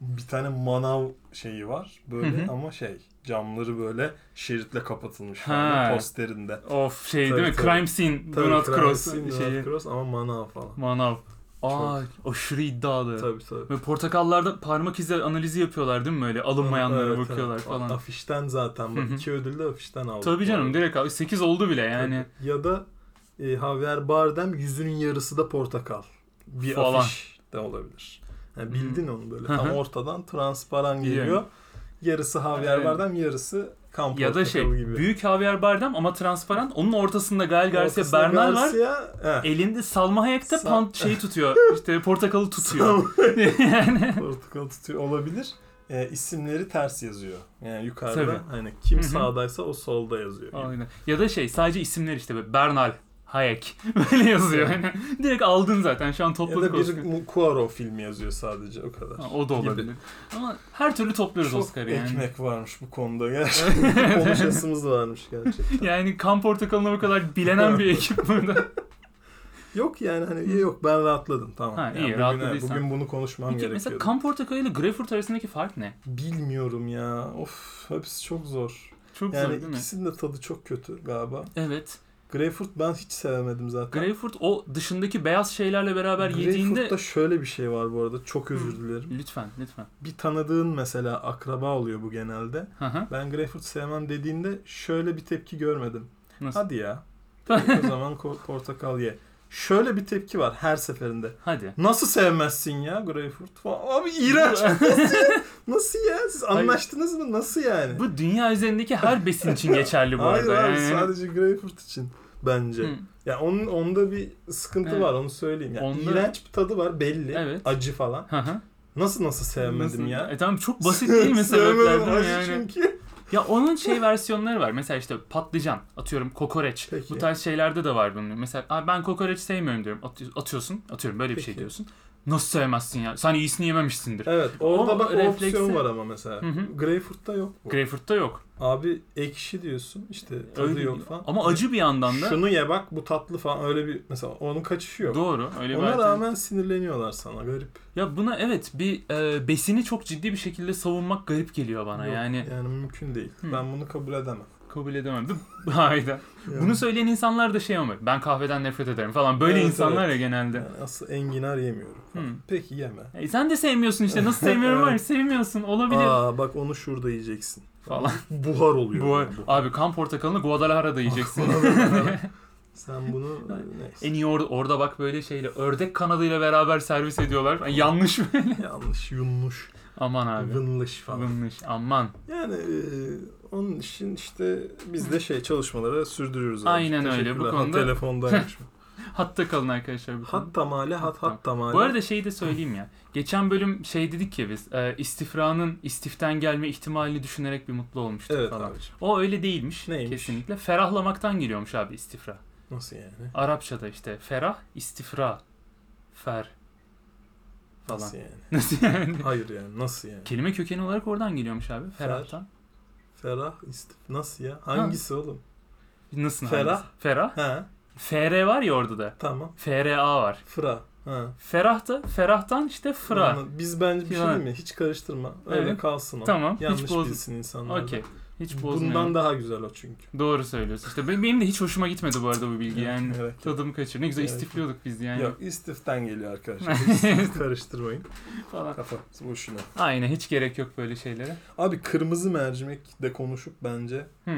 Speaker 2: bir tane manav şeyi var böyle
Speaker 1: Hı hı.
Speaker 2: ama şey camları böyle şeritle kapatılmış
Speaker 1: Ha.
Speaker 2: falan posterinde.
Speaker 1: Of şey
Speaker 2: Tabii,
Speaker 1: değil mi?
Speaker 2: tabii.
Speaker 1: Crime scene,
Speaker 2: Tabii
Speaker 1: do not
Speaker 2: Crime
Speaker 1: cross
Speaker 2: Scene, Do Not
Speaker 1: şeyi.
Speaker 2: Cross ama manav falan.
Speaker 1: Manav. Aa aşırı iddialı.
Speaker 2: Tabii tabii.
Speaker 1: Ve portakallarda parmak izi analizi yapıyorlar değil mi böyle? Alınmayanlara
Speaker 2: Evet,
Speaker 1: bakıyorlar
Speaker 2: evet.
Speaker 1: falan.
Speaker 2: Afişten zaten bak
Speaker 1: Hı hı.
Speaker 2: iki ödül de afişten aldı.
Speaker 1: Tabii canım direkt 8 oldu bile yani.
Speaker 2: Tabii. Ya da e, Javier Bardem yüzünün yarısı da portakal. Bir
Speaker 1: Falan.
Speaker 2: afiş de olabilir. Yani bildin onu böyle
Speaker 1: Hı
Speaker 2: tam
Speaker 1: hı.
Speaker 2: transparan transparan
Speaker 1: Biliyorum.
Speaker 2: geliyor. Yarısı Javier
Speaker 1: Evet.
Speaker 2: Bardem yarısı kan
Speaker 1: Ya da
Speaker 2: portakalı
Speaker 1: şey
Speaker 2: gibi.
Speaker 1: büyük Javier Bardem ama transparan. Onun ortasında Gael Garcia
Speaker 2: Ortasında
Speaker 1: Bernal var.
Speaker 2: Garcia, he.
Speaker 1: Elinde Salma Hayek de
Speaker 2: Sa-
Speaker 1: pant şeyi tutuyor. işte portakalı tutuyor. yani.
Speaker 2: Portakal tutuyor olabilir. E, isimleri ters yazıyor. Yani yukarıda
Speaker 1: Tabii.
Speaker 2: hani kim
Speaker 1: Hı hı.
Speaker 2: sağdaysa o solda yazıyor.
Speaker 1: Aynen. Ya da şey sadece isimler işte böyle Bernal Hayek böyle yazıyor. Yani direkt aldın zaten şu an
Speaker 2: Ya da
Speaker 1: topladık
Speaker 2: bir
Speaker 1: Oscar'ı.
Speaker 2: Mu- Cuarón filmi yazıyor sadece o kadar.
Speaker 1: Ha, O da olabilir.
Speaker 2: Gibi.
Speaker 1: Ama her türlü topluyoruz
Speaker 2: Çok
Speaker 1: Oscar'ı yani.
Speaker 2: ekmek varmış bu konuda gerçekten. Konuşasımız varmış gerçekten.
Speaker 1: Yani kan portakalına bu kadar bilenen bir ekip burada.
Speaker 2: Yok yani hani iyi yok ben rahatladım tamam.
Speaker 1: Ha,
Speaker 2: Yani
Speaker 1: iyi,
Speaker 2: bugün,
Speaker 1: rahatladıysan.
Speaker 2: bugün bunu konuşmam
Speaker 1: Peki
Speaker 2: gerekiyor.
Speaker 1: mesela kan portakalı ile greyfurt arasındaki fark ne?
Speaker 2: Bilmiyorum ya. Of hepsi çok zor.
Speaker 1: Çok
Speaker 2: Yani
Speaker 1: zor değil mi?
Speaker 2: ikisinin de tadı çok kötü galiba.
Speaker 1: Evet.
Speaker 2: Greyfurt ben hiç sevemedim zaten.
Speaker 1: Greyfurt o dışındaki beyaz şeylerle beraber yediğinde...
Speaker 2: Greyfurt'ta şöyle bir şey var bu arada çok özür dilerim.
Speaker 1: Lütfen, lütfen.
Speaker 2: Bir tanıdığın mesela akraba oluyor bu genelde.
Speaker 1: Hı hı.
Speaker 2: Ben Greyfurt sevmem dediğinde şöyle bir tepki görmedim.
Speaker 1: Nasıl?
Speaker 2: Hadi ya. Peki o zaman ko- portakal ye. Şöyle bir tepki var her seferinde.
Speaker 1: Hadi.
Speaker 2: Nasıl sevmezsin ya Greyfurt? falan? Abi iğrenç. Nasıl ya? Nasıl ya? Siz
Speaker 1: Hayır.
Speaker 2: anlaştınız mı? Nasıl yani?
Speaker 1: Bu dünya üzerindeki her besin için geçerli bu
Speaker 2: Hayır
Speaker 1: arada.
Speaker 2: abi
Speaker 1: yani.
Speaker 2: sadece Greyfurt için bence.
Speaker 1: Hı.
Speaker 2: Ya onun onda bir sıkıntı
Speaker 1: Evet.
Speaker 2: var onu söyleyeyim. Yani
Speaker 1: Onda-
Speaker 2: İğrenç bir tadı var belli.
Speaker 1: Evet.
Speaker 2: Acı falan.
Speaker 1: Hı hı.
Speaker 2: Nasıl nasıl sevmedim
Speaker 1: Nasıl?
Speaker 2: ya?
Speaker 1: E tamam çok basit değil mi
Speaker 2: Sevmedim
Speaker 1: sebeplerden
Speaker 2: acı
Speaker 1: yani?
Speaker 2: çünkü.
Speaker 1: Ya onun şey versiyonları var. Mesela işte patlıcan atıyorum kokoreç.
Speaker 2: Peki.
Speaker 1: Bu tarz şeylerde de var bunun. Mesela "Aa, ben kokoreç sevmiyorum diyorum. Atı- Atıyorsun. Atıyorum böyle bir şey
Speaker 2: Peki.
Speaker 1: diyorsun. Nasıl sevmezsin ya? Sen iyisini yememişsindir.
Speaker 2: Evet orada
Speaker 1: O
Speaker 2: bak o
Speaker 1: refleksi-
Speaker 2: opsiyon var ama mesela.
Speaker 1: Hı hı.
Speaker 2: Greyfurt'ta yok bu.
Speaker 1: Greyfurt'ta yok.
Speaker 2: Abi ekşi diyorsun işte tadı
Speaker 1: Öyle
Speaker 2: yok
Speaker 1: değil.
Speaker 2: falan.
Speaker 1: Ama acı bir yandan da.
Speaker 2: Şunu ye bak bu tatlı falan öyle bir mesela onun kaçışı yok.
Speaker 1: Doğru. Öyle bir
Speaker 2: Ona
Speaker 1: alternatif-
Speaker 2: rağmen sinirleniyorlar sana garip.
Speaker 1: Ya buna evet bir e, besini çok ciddi bir şekilde savunmak garip geliyor bana.
Speaker 2: Yok,
Speaker 1: yani
Speaker 2: yani mümkün değil.
Speaker 1: Hı.
Speaker 2: Ben bunu kabul edemem.
Speaker 1: kabul edemem. Hayda.
Speaker 2: Yani-
Speaker 1: Bunu söyleyen insanlar da şey ama ben kahveden nefret ederim falan. Böyle
Speaker 2: Evet,
Speaker 1: insanlar
Speaker 2: evet.
Speaker 1: ya genelde.
Speaker 2: yani asıl enginar yemiyorum. falan.
Speaker 1: Hı.
Speaker 2: Peki yeme.
Speaker 1: E, sen de sevmiyorsun işte. Nasıl sevmiyorum var ya, sevmiyorsun. Olabilir.
Speaker 2: Aa bak onu şurada yiyeceksin.
Speaker 1: Falan.
Speaker 2: Buhar oluyor.
Speaker 1: Bu,
Speaker 2: yani bu.
Speaker 1: abi kan portakalını Guadalajara'da yiyeceksin.
Speaker 2: Sen bunu
Speaker 1: en
Speaker 2: neyse.
Speaker 1: iyi orada, orada bak böyle şeyle ördek kanadıyla beraber servis ediyorlar. Yani yanlış mı?
Speaker 2: Yanlış, yunmuş,
Speaker 1: Aman abi.
Speaker 2: vınlış falan.
Speaker 1: Yanlış. Aman.
Speaker 2: Yani e, onun için işte biz de şey çalışmalara sürdürüyoruz. abi.
Speaker 1: Aynen öyle. Bu
Speaker 2: Teşekkürler. Ha,
Speaker 1: konuda-
Speaker 2: telefondaymış.
Speaker 1: Hatta kalın arkadaşlar bu konuda.
Speaker 2: hat tamale hat hat tamale.
Speaker 1: Bu arada şeyi de söyleyeyim ya. Geçen bölüm şey dedik ya biz e, istifranın istiften gelme ihtimalini düşünerek bir mutlu olmuştuk
Speaker 2: evet
Speaker 1: falan.
Speaker 2: abiciğim.
Speaker 1: O öyle değilmiş
Speaker 2: Neymiş?
Speaker 1: kesinlikle. Ferahlamaktan geliyormuş abi istifra.
Speaker 2: Nasıl yani?
Speaker 1: Arapçada işte ferah, istifra, fer falan.
Speaker 2: Nasıl yani?
Speaker 1: Nasıl yani?
Speaker 2: Hayır yani nasıl yani?
Speaker 1: Kelime kökeni olarak oradan geliyormuş abi.
Speaker 2: Fer.
Speaker 1: Ferahtan.
Speaker 2: Ferah istif nasıl ya? Hangisi oğlum?
Speaker 1: Nasıl?
Speaker 2: Ferah.
Speaker 1: hangisi? Ferah.
Speaker 2: Ha
Speaker 1: FR var ya orada da.
Speaker 2: tamam.
Speaker 1: FRA var.
Speaker 2: Fra. Ha.
Speaker 1: Ferah da ferahtan işte fıra.
Speaker 2: Anla- Biz bence bir şey
Speaker 1: Fra.
Speaker 2: değil mi? Hiç karıştırma. Öyle
Speaker 1: Evet.
Speaker 2: kalsın o.
Speaker 1: Tamam, hiç
Speaker 2: Yanlış
Speaker 1: boz-
Speaker 2: bilsin insanlar. da.
Speaker 1: Okey. Hiç bozmuyor.
Speaker 2: Bundan daha güzel o çünkü.
Speaker 1: Doğru söylüyorsun. İşte benim, benim de hiç hoşuma gitmedi bu arada bu bilgi yani.
Speaker 2: Evet, evet.
Speaker 1: Tadımı kaçır. Ne güzel
Speaker 2: Evet.
Speaker 1: istifliyorduk biz yani.
Speaker 2: Yok istiften geliyor arkadaşlar. İstif karıştırmayın.
Speaker 1: Falan.
Speaker 2: Kafa boşuna.
Speaker 1: Aynen hiç gerek yok böyle şeylere.
Speaker 2: Abi kırmızı mercimek de konuşup bence
Speaker 1: Hı.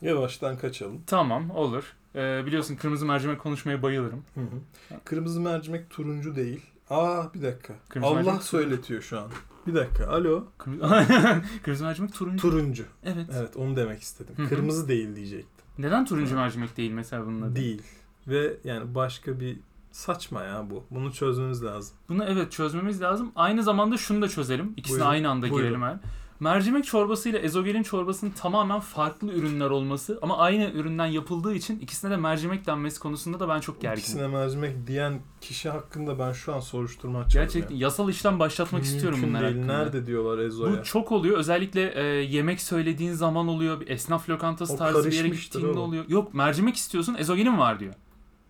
Speaker 2: yavaştan kaçalım.
Speaker 1: Tamam olur. Ee, biliyorsun kırmızı mercimek konuşmaya bayılırım.
Speaker 2: Hı hı. Kırmızı mercimek turuncu değil. Aa bir dakika.
Speaker 1: Kırmızı
Speaker 2: Allah
Speaker 1: mercimek
Speaker 2: söyletiyor şu an. Bir dakika. Alo.
Speaker 1: Kırmızı, kırmızı mercimek turuncu.
Speaker 2: Turuncu.
Speaker 1: evet.
Speaker 2: Evet onu demek istedim.
Speaker 1: Hı hı.
Speaker 2: Kırmızı değil diyecektim.
Speaker 1: Neden turuncu mercimek değil mesela bunun adı?
Speaker 2: Değil. Ve yani başka bir saçma ya bu. Bunu çözmemiz lazım.
Speaker 1: Bunu evet çözmemiz lazım. Aynı zamanda şunu da çözelim. İkisini
Speaker 2: Buyurun,
Speaker 1: aynı anda
Speaker 2: buyurun.
Speaker 1: girelim her. Mercimek çorbası ile ezogelin çorbasının tamamen farklı ürünler olması ama aynı üründen yapıldığı için ikisine de mercimek denmesi konusunda da ben çok gerginim.
Speaker 2: İkisine mercimek diyen kişi hakkında ben şu an soruşturma açıyorum.
Speaker 1: Gerçekten
Speaker 2: ya.
Speaker 1: yasal işlem başlatmak istiyorum
Speaker 2: Mümkün
Speaker 1: bunlar
Speaker 2: değil.
Speaker 1: hakkında.
Speaker 2: Nerede diyorlar Ezo'ya?
Speaker 1: Bu çok oluyor. Özellikle e, yemek söylediğin zaman oluyor. Bir esnaf lokantası
Speaker 2: O
Speaker 1: tarzı bir yere
Speaker 2: karışmıştır
Speaker 1: gittiğinde
Speaker 2: oğlum.
Speaker 1: oluyor. Yok mercimek istiyorsun ezogelin var diyor.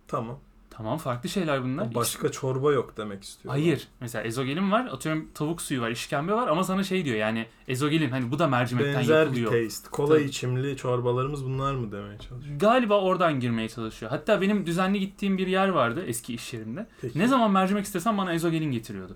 Speaker 2: Tamam.
Speaker 1: Tamam farklı şeyler bunlar.
Speaker 2: Başka çorba yok demek istiyorum.
Speaker 1: Hayır. Mesela ezogelin var. Atıyorum tavuk suyu var, işkembe var ama sana şey diyor yani ezogelin hani bu da mercimekten
Speaker 2: Benzer bir
Speaker 1: yapılıyor.
Speaker 2: taste. Kola
Speaker 1: Tabii.
Speaker 2: içimli çorbalarımız bunlar mı demeye çalışıyor.
Speaker 1: Galiba oradan girmeye çalışıyor. Hatta benim düzenli gittiğim bir yer vardı eski iş yerimde.
Speaker 2: Peki.
Speaker 1: Ne zaman mercimek istesem bana ezogelin getiriyordu.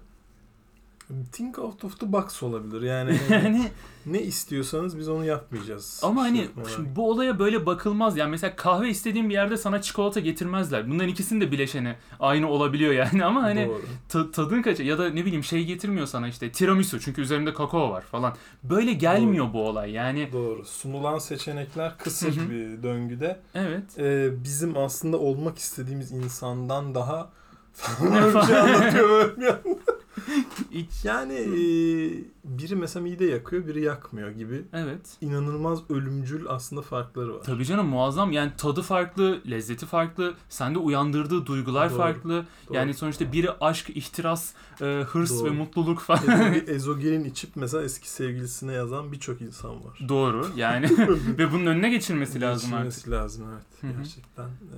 Speaker 2: Think out of the box olabilir. Yani
Speaker 1: Yani
Speaker 2: ne istiyorsanız biz onu yapmayacağız. Şey,
Speaker 1: ama hani
Speaker 2: Şirket olarak.
Speaker 1: şimdi bu olaya böyle bakılmaz. Yani mesela kahve istediğin bir yerde sana çikolata getirmezler. Bunların ikisinin de bileşeni aynı olabiliyor yani ama hani
Speaker 2: Doğru.
Speaker 1: Ta- tadın kaçıyor ya da ne bileyim şey getirmiyor sana işte tiramisu çünkü üzerinde kakao var falan. Böyle gelmiyor bu olay yani.
Speaker 2: Doğru. Sunulan seçenekler
Speaker 1: Hı
Speaker 2: kısır
Speaker 1: hı.
Speaker 2: bir döngüde.
Speaker 1: Evet.
Speaker 2: Ee, bizim aslında olmak istediğimiz insandan daha falan bir şey anlatıyor böyle bir anda.
Speaker 1: İç-
Speaker 2: Yani e, biri mesela mide yakıyor, biri yakmıyor gibi
Speaker 1: Evet.
Speaker 2: inanılmaz ölümcül aslında farkları var.
Speaker 1: Tabii canım muazzam yani tadı farklı, lezzeti farklı, sende uyandırdığı duygular
Speaker 2: Doğru,
Speaker 1: farklı.
Speaker 2: Doğru.
Speaker 1: Yani sonuçta biri aşk, ihtiras, e, hırs
Speaker 2: Doğru.
Speaker 1: ve mutluluk falan.
Speaker 2: Ezoge- ezogelin içip mesela eski sevgilisine yazan birçok insan var.
Speaker 1: Doğru yani ve bunun önüne geçilmesi lazım artık.
Speaker 2: Geçilmesi lazım evet.
Speaker 1: Hı hı.
Speaker 2: Gerçekten e,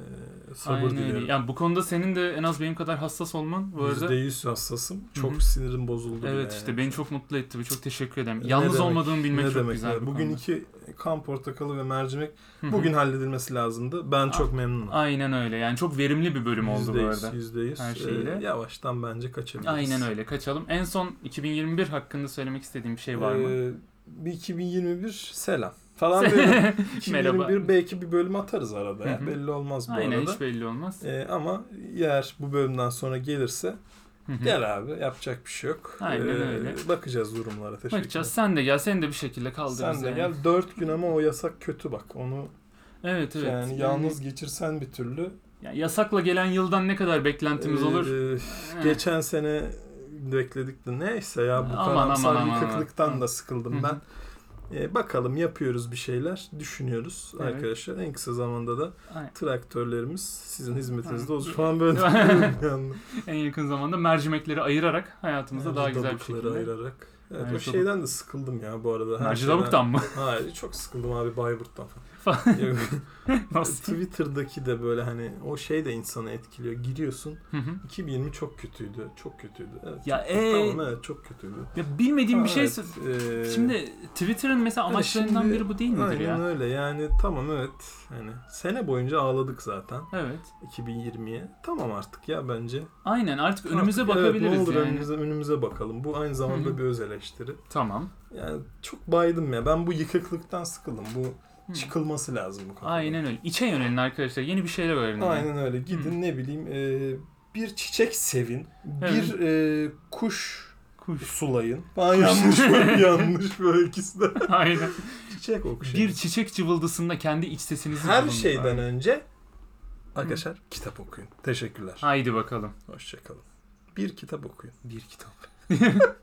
Speaker 2: sabır
Speaker 1: Aynen öyle.
Speaker 2: diliyorum.
Speaker 1: Yani bu konuda senin de en az benim kadar hassas olman bu arada.
Speaker 2: %100 hassasım. Çok
Speaker 1: Hı hı.
Speaker 2: sinirim bozuldu. bile
Speaker 1: Evet işte
Speaker 2: yani.
Speaker 1: beni çok mutlu etti ve çok teşekkür ederim.
Speaker 2: Ne
Speaker 1: Yalnız
Speaker 2: demek,
Speaker 1: olmadığımı bilmek
Speaker 2: ne
Speaker 1: çok
Speaker 2: demek
Speaker 1: güzel.
Speaker 2: ya.
Speaker 1: bir
Speaker 2: Bugün
Speaker 1: konu.
Speaker 2: iki kan portakalı ve mercimek
Speaker 1: Hı hı.
Speaker 2: bugün halledilmesi lazımdı. Ben çok memnunum.
Speaker 1: Aynen öyle. Yani çok verimli bir bölüm oldu bu arada.
Speaker 2: %100.
Speaker 1: Her şeyle.
Speaker 2: Ee, yavaştan bence kaçabiliriz.
Speaker 1: Aynen öyle. Kaçalım. En son 2021 hakkında söylemek istediğim bir şey var mı?
Speaker 2: Ee, bir 2021 selam falan diyorum. 2021 belki bir bölüm atarız arada. ya.
Speaker 1: Hı hı.
Speaker 2: Belli olmaz bu
Speaker 1: Aynen
Speaker 2: arada.
Speaker 1: hiç belli olmaz.
Speaker 2: Ee, ama eğer bu bölümden sonra gelirse
Speaker 1: Hı hı.
Speaker 2: gel abi yapacak bir şey yok.
Speaker 1: Aynen öyle.
Speaker 2: Bakacağız durumlara. Teşekkür
Speaker 1: Bakacağız. Sen de gel. Seni de bir şekilde kaldır
Speaker 2: Sen
Speaker 1: bizi
Speaker 2: de
Speaker 1: yani.
Speaker 2: gel. 4 gün ama o yasak kötü bak. Onu
Speaker 1: Evet evet.
Speaker 2: yani yalnız geçirsen bir türlü.
Speaker 1: Yani yasakla gelen yıldan ne kadar beklentimiz
Speaker 2: Ee,
Speaker 1: olur?
Speaker 2: e,
Speaker 1: Eh.
Speaker 2: geçen sene bekledik de neyse ya bu
Speaker 1: Aman,
Speaker 2: karamsar
Speaker 1: aman, aman,
Speaker 2: yıkıklıktan
Speaker 1: aman.
Speaker 2: da sıkıldım
Speaker 1: Hı hı.
Speaker 2: ben. Ee, bakalım yapıyoruz bir şeyler. Düşünüyoruz
Speaker 1: Evet.
Speaker 2: arkadaşlar. En kısa zamanda da
Speaker 1: Aynen.
Speaker 2: traktörlerimiz sizin hizmetinizde
Speaker 1: Hı.
Speaker 2: olacak. Şu an böyle yani.
Speaker 1: En yakın zamanda mercimekleri ayırarak hayatımıza daha güzel bir
Speaker 2: Dabukları
Speaker 1: şekilde.
Speaker 2: ayırarak. Evet, o
Speaker 1: Mercidabuk.
Speaker 2: şeyden de sıkıldım ya bu arada. Her
Speaker 1: Mercidabuk'tan mı?
Speaker 2: şeyden- Hayır çok sıkıldım abi Bayburt'tan
Speaker 1: Falan.
Speaker 2: falan.
Speaker 1: Nasıl?
Speaker 2: Twitter'daki de böyle hani o şey de insanı etkiliyor. Giriyorsun
Speaker 1: Hı hı.
Speaker 2: 2020 çok kötüydü. Çok kötüydü. Evet.
Speaker 1: Ya,
Speaker 2: çok-
Speaker 1: ee,
Speaker 2: Tamam evet çok kötüydü.
Speaker 1: ya bilmediğim
Speaker 2: Ha,
Speaker 1: bir şey
Speaker 2: evet, ee,
Speaker 1: Şimdi Twitter'ın mesela
Speaker 2: evet,
Speaker 1: amaçlarından
Speaker 2: şimdi-
Speaker 1: biri bu değil midir
Speaker 2: aynen
Speaker 1: ya?
Speaker 2: öyle yani tamam evet. Yani sene boyunca ağladık zaten
Speaker 1: Evet.
Speaker 2: 2020'ye. Tamam artık ya bence.
Speaker 1: Aynen artık önümüze
Speaker 2: Artık
Speaker 1: bakabiliriz
Speaker 2: evet, ne olur
Speaker 1: yani.
Speaker 2: önümüze, önümüze bakalım. Bu aynı zamanda
Speaker 1: Hı hı.
Speaker 2: bir öz eleştiri.
Speaker 1: Tamam.
Speaker 2: Yani çok baydım ya. Ben bu yıkıklıktan sıkıldım. Bu
Speaker 1: Hı.
Speaker 2: çıkılması lazım bu konuda.
Speaker 1: Aynen öyle. İçe yönelin arkadaşlar. Yeni bir şeyler öğrenin.
Speaker 2: Aynen öyle. Gidin ne bileyim e, bir çiçek sevin.
Speaker 1: Evet.
Speaker 2: Bir e, kuş
Speaker 1: Kuş.
Speaker 2: sulayın. Ben yanlış böyle yanlış böyle ikisi de.
Speaker 1: Aynen.
Speaker 2: Çiçek okşayın.
Speaker 1: Bir çiçek cıvıldısında kendi iç sesinizi
Speaker 2: Her
Speaker 1: bulun.
Speaker 2: şeyden
Speaker 1: Aynen.
Speaker 2: önce arkadaşlar kitap okuyun. Teşekkürler.
Speaker 1: Haydi bakalım.
Speaker 2: Hoşçakalın. Bir kitap okuyun.
Speaker 1: Bir kitap.